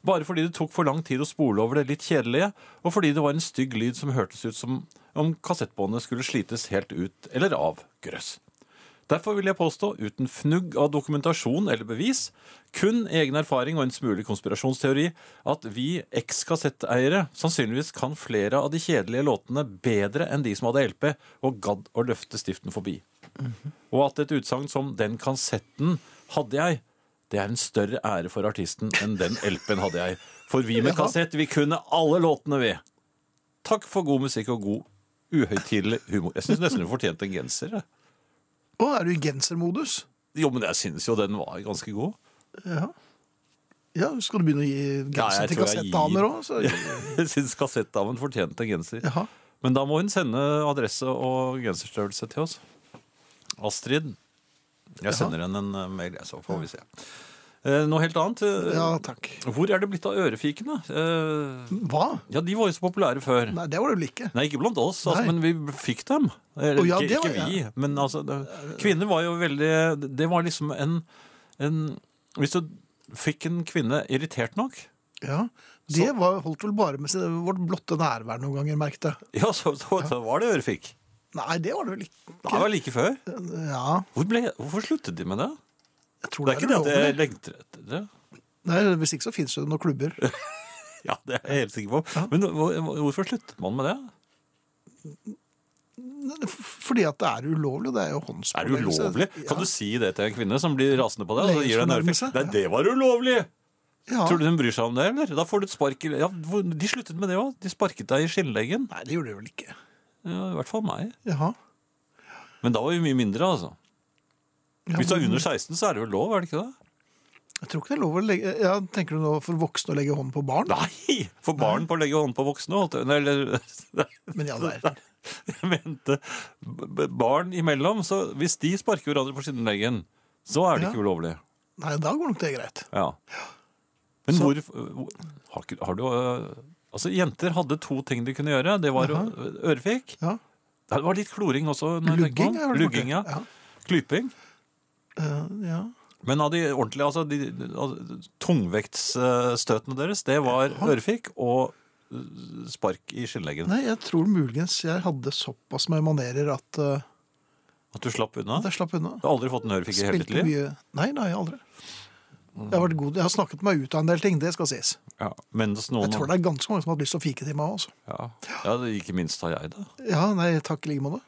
Speaker 2: Bare fordi det tok for lang tid å spole over det litt kjedelige, og fordi det var en stygg lyd som hørtes ut som om kassettbåndet skulle slites helt ut eller av grøss. Derfor vil jeg påstå, uten fnugg av dokumentasjon eller bevis, kun egen erfaring og en smule konspirasjonsteori, at vi eks-kassetteiere sannsynligvis kan flere av de kjedelige låtene bedre enn de som hadde LP og gadd å løfte stiften forbi. Og at et utsagn som 'den kassetten hadde jeg', det er en større ære for artisten enn 'den LP-en hadde jeg'. For vi med kassett, vi kunne alle låtene, vi. Takk for god musikk og god uhøytidelig humor. Jeg syns nesten du fortjente en genser. jeg.
Speaker 1: Å, er du i gensermodus?
Speaker 2: Jo, men jeg synes jo den var ganske god.
Speaker 1: Ja. ja, skal du begynne å gi genser
Speaker 2: jeg
Speaker 1: til
Speaker 2: tror jeg
Speaker 1: kassettdamer òg?
Speaker 2: gir- (laughs) Jeg syns kassettdamen fortjente en genser.
Speaker 1: Jaha.
Speaker 2: Men da må hun sende adresse og genserstørrelse til oss. Astrid. Jeg sender henne en eh, mail, jeg, så får vi se. Eh, Noe helt annet. eh,
Speaker 1: Ja, takk.
Speaker 2: Hvor er det blitt av ørefikene? Eh,
Speaker 1: Hva?
Speaker 2: Ja, de var jo så populære før. Nei,
Speaker 1: Nei, det var det vel ikke.
Speaker 2: ikke blant oss, altså,
Speaker 1: Nei.
Speaker 2: men vi fikk dem. Eller,
Speaker 1: Å, ja,
Speaker 2: ikke,
Speaker 1: det var-
Speaker 2: ikke vi, men altså det- Kvinner var jo veldig Det var liksom en, en Hvis du fikk en kvinne irritert nok,
Speaker 1: Ja. Det var, holdt vel bare med sin, vårt blotte nærvær noen ganger, merket jeg.
Speaker 2: ja, så, så, så var det ørefik.
Speaker 1: Nei, det var det vel ikke.
Speaker 2: Det var like før.
Speaker 1: Ja,
Speaker 2: Hvor ble, hvorfor sluttet de med det?
Speaker 1: jeg tror
Speaker 2: Det er ikke det at
Speaker 1: ulovlig.
Speaker 2: jeg lengter etter det.
Speaker 1: Nei, Hvis ikke så finnes det noen klubber.
Speaker 2: Ja, det er jeg helt sikker på. Men hvor- hvorfor sluttet man med det?
Speaker 1: Fordi at det er ulovlig. og Det er jo
Speaker 2: Er det
Speaker 1: håndspåleggelse.
Speaker 2: ulovlig? Kan du si det til en kvinne som blir rasende på deg? Og så gir deg en ørefik?
Speaker 1: Legesfornærmelse,
Speaker 2: Nei,
Speaker 1: ja.
Speaker 2: det var ulovlig!
Speaker 1: Ja.
Speaker 2: Tror du hun bryr seg om det, eller? Da får du et spark i ja, hvor- De sluttet med det òg. De sparket deg i skinnleggen.
Speaker 1: Nei, det gjorde det vel ikke.
Speaker 2: Ja, I hvert fall meg.
Speaker 1: Jaha.
Speaker 2: Men da var vi mye mindre, altså. Hvis du er under 16, så er det vel lov, er det ikke det?
Speaker 1: Jeg tror ikke det er lov å legge eh, ja, Tenker du nå for voksne å legge hånden på barn?
Speaker 2: Nei! For barn på å legge hånd på voksne. holdt jeg- nei, Eller, (laughs) nei,
Speaker 1: Men ja, det er
Speaker 2: jeg mente b- barn imellom. Så hvis de sparker hverandre på skinnleggen, så er det ikke ulovlig.
Speaker 1: Nei, da går nok det greit.
Speaker 2: Ja. Men hvor, hvor har, ikke- har du øh, Altså, jenter hadde to ting de kunne gjøre. Det var
Speaker 1: Jaha.
Speaker 2: øh, ørefik.
Speaker 1: Ja.
Speaker 2: Det var litt kloring også. når jeg tenker
Speaker 1: Lugging
Speaker 2: på
Speaker 1: er
Speaker 2: den.
Speaker 1: vel
Speaker 2: Lugging, ja.
Speaker 1: borte.
Speaker 2: Klyping.
Speaker 1: Ja. Eh, ja.
Speaker 2: Men av de ordentlige, altså de, altså, tungvektsstøtene deres, det var ørefik og øh, spark i skinnleggen.
Speaker 1: Nei, jeg tror muligens jeg hadde såpass med manerer at, eh,
Speaker 2: At du slapp unna?
Speaker 1: at jeg slapp unna.
Speaker 2: Du har aldri fått en ørefik i hele ditt liv?
Speaker 1: mye Nei, det har jeg aldri. Jeg har, vært god. jeg har snakket meg ut av en del ting, det skal sies.
Speaker 2: Ja, mens noen...
Speaker 1: Jeg tror det er ganske mange som har hatt lyst til å fike til meg også.
Speaker 2: Ja, ja det, ikke minst har jeg det.
Speaker 1: Ja, nei, takk i like måte.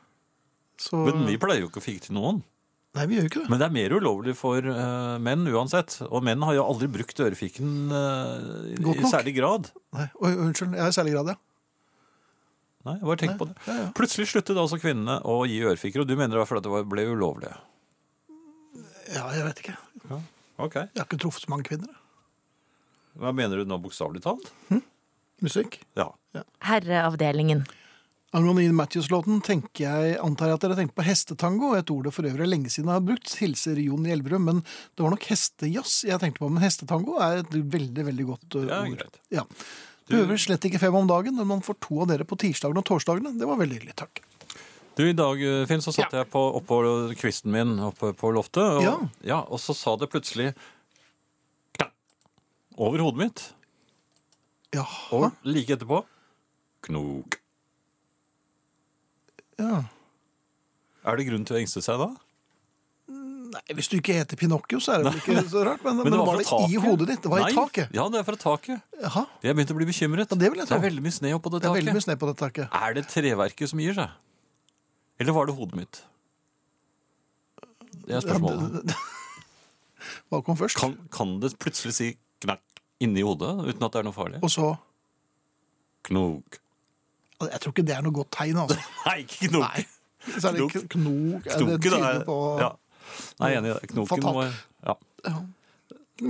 Speaker 1: Så
Speaker 2: Men vi pleier jo ikke å fike til noen.
Speaker 1: Nei, vi gjør jo ikke det.
Speaker 2: Men det er mer ulovlig for eh, menn uansett. Og menn har jo aldri brukt ørefiken eh, i-
Speaker 1: Godt
Speaker 2: i
Speaker 1: nok.
Speaker 2: særlig grad.
Speaker 1: Nei, oi, unnskyld. Jeg er i særlig grad, ja.
Speaker 2: Nei, bare tenk
Speaker 1: Nei,
Speaker 2: på det.
Speaker 1: ja, ja.
Speaker 2: Plutselig sluttet altså kvinnene å gi ørefiker, og du mener det var fordi det var- ble ulovlig.
Speaker 1: Ja, jeg vet ikke.
Speaker 2: Ok.
Speaker 1: Jeg har ikke truffet så mange kvinner. jeg.
Speaker 2: Hva mener du nå bokstavelig talt?
Speaker 1: Musikk.
Speaker 2: Ja.
Speaker 4: Herreavdelingen.
Speaker 1: Angående Ian Matthews-låten tenker jeg, antar jeg at dere tenker på hestetango, et ord det for øvrig er lenge siden jeg har brukt, hilser Jon Gjelverød, men det var nok hestejazz jeg tenkte på, men hestetango er et veldig, veldig godt uh,
Speaker 2: Ja,
Speaker 1: ord.
Speaker 2: greit.
Speaker 1: Ja. Behøver slett ikke fem om dagen når man får to av dere på tirsdagene og torsdagene. Det var veldig hyggelig, takk.
Speaker 2: Du, I dag eh, Finn, så satt jeg på, oppå kvisten min oppe på loftet, og, ja.
Speaker 1: Ja.
Speaker 2: og så sa det plutselig knakk over hodet mitt, og
Speaker 1: Jaha.
Speaker 2: like etterpå knok.
Speaker 1: Ja.
Speaker 2: Er det grunn til å engste seg da?
Speaker 1: Nei, hvis du ikke heter Pinocchio, så er det vel ikke så rart, men, men, var det
Speaker 2: fra
Speaker 1: i
Speaker 2: taket.
Speaker 1: hodet ditt? Det var
Speaker 2: Nei,
Speaker 1: i taket?
Speaker 2: Ja, det er fra taket.
Speaker 1: Jaha.
Speaker 2: Jeg begynte å bli bekymret.
Speaker 1: Ja, det vil jeg tro.
Speaker 2: er veldig mye sne oppå det
Speaker 1: Det er
Speaker 2: taket.
Speaker 1: veldig mye sne på dette taket.
Speaker 2: Er det treverket som gir seg? Eller var det hodet mitt? Det er spørsmålet.
Speaker 1: Ja, det- (laughs) Hva kom først?
Speaker 2: Kan, kan det plutselig si knakk inni hodet uten at det er noe farlig?
Speaker 1: Og så Altså,
Speaker 2: Knok.
Speaker 1: Jeg tror ikke det er noe godt tegn, altså.
Speaker 2: Nei, ikke knok.
Speaker 1: Nei. Så er det
Speaker 2: Knok.
Speaker 1: knok, knok er det
Speaker 2: Knoken
Speaker 1: tyder
Speaker 2: er
Speaker 1: på
Speaker 2: ja. Nei, jeg er enig. i det. Knoken
Speaker 1: Fatal.
Speaker 2: må ja.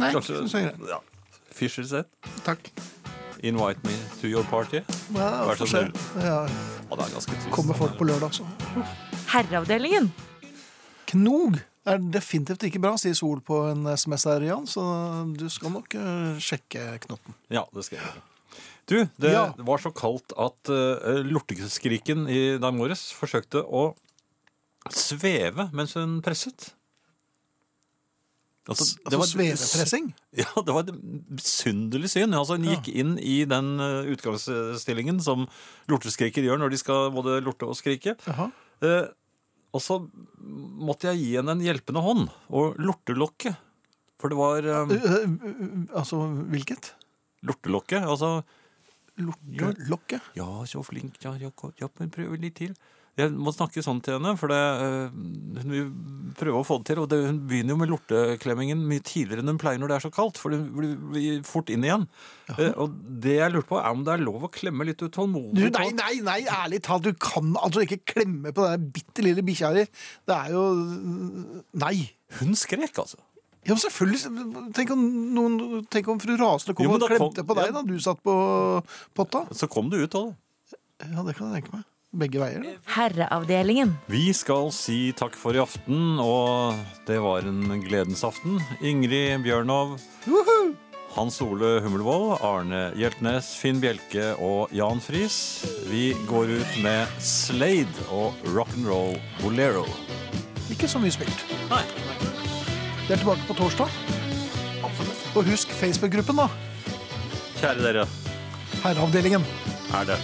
Speaker 1: Nei,
Speaker 2: Kanskje
Speaker 1: synes jeg er greit.
Speaker 2: ja. Fisher said,
Speaker 1: Takk.
Speaker 2: invite me to your party.
Speaker 1: Ja,
Speaker 2: Vær
Speaker 1: får
Speaker 2: så
Speaker 1: se.
Speaker 2: snill.
Speaker 1: Ja,
Speaker 2: Ja, det er ganske trist.
Speaker 1: kommer folk på lørdag, så.
Speaker 4: Herreavdelingen.
Speaker 1: Knog er definitivt ikke bra, sier Sol på en SMS her, Jan, så du skal nok eh, sjekke knotten.
Speaker 2: Ja, det skal jeg gjøre. Du, det
Speaker 1: Ja.
Speaker 2: var så kaldt at eh, lorteskriken i dag morges forsøkte å sveve mens hun presset. Altså,
Speaker 1: Altså svevepressing?
Speaker 2: (laughs) Ja, det var et besynderlig syn. Altså, Hun gikk inn i den eh, utgangsstillingen som lorteskriker gjør når de skal både lorte og skrike.
Speaker 1: Jaha.
Speaker 2: Eh, og så måtte jeg gi henne en hjelpende hånd og lortelokket. For det var eh,
Speaker 1: Eh, eh, eh, altså, hvilket?
Speaker 2: lortelokket. Altså
Speaker 1: Lortelokket?
Speaker 2: Ja, så flink. Ja, ja, godt, ja, men prøv litt til. Jeg må snakke sånn til henne, for det, eh, hun vil prøve å få det til. Og det, hun begynner jo med lorteklemmingen mye tidligere enn hun pleier når det er så kaldt. For hun blir, blir fort inn igjen. Eh, og det jeg lurte på, er om det er lov å klemme litt
Speaker 1: Du, nei,
Speaker 2: utålmodig. på-
Speaker 1: nei, nei, ærlig talt, du kan altså ikke klemme på den bitte lille bikkja di. Det er jo mm, Nei.
Speaker 2: Hun skrek, altså.
Speaker 1: Ja, men selvfølgelig. Tenk om, noen, tenk om fru Rasende kom
Speaker 2: Jo, men
Speaker 1: og
Speaker 2: da kom-
Speaker 1: klemte på deg
Speaker 2: ja.
Speaker 1: da du satt på potta.
Speaker 2: Så kom det ut av det.
Speaker 1: Ja, det kan jeg tenke meg. Begge veier. da.
Speaker 4: Herreavdelingen.
Speaker 2: Vi skal si takk for i aften, og det var en gledens aften. Ingrid Bjørnov, Hans Ole Hummelvold, Arne Hjeltnes, Finn Bjelke og Jan Friis. Vi går ut med Slade og rock'n'roll Bolero.
Speaker 1: Ikke så mye spilt.
Speaker 2: Nei.
Speaker 1: Det er tilbake på torsdag. Og husk Facebook-gruppen, da.
Speaker 2: Kjære dere,
Speaker 1: Herreavdelingen.
Speaker 2: er det.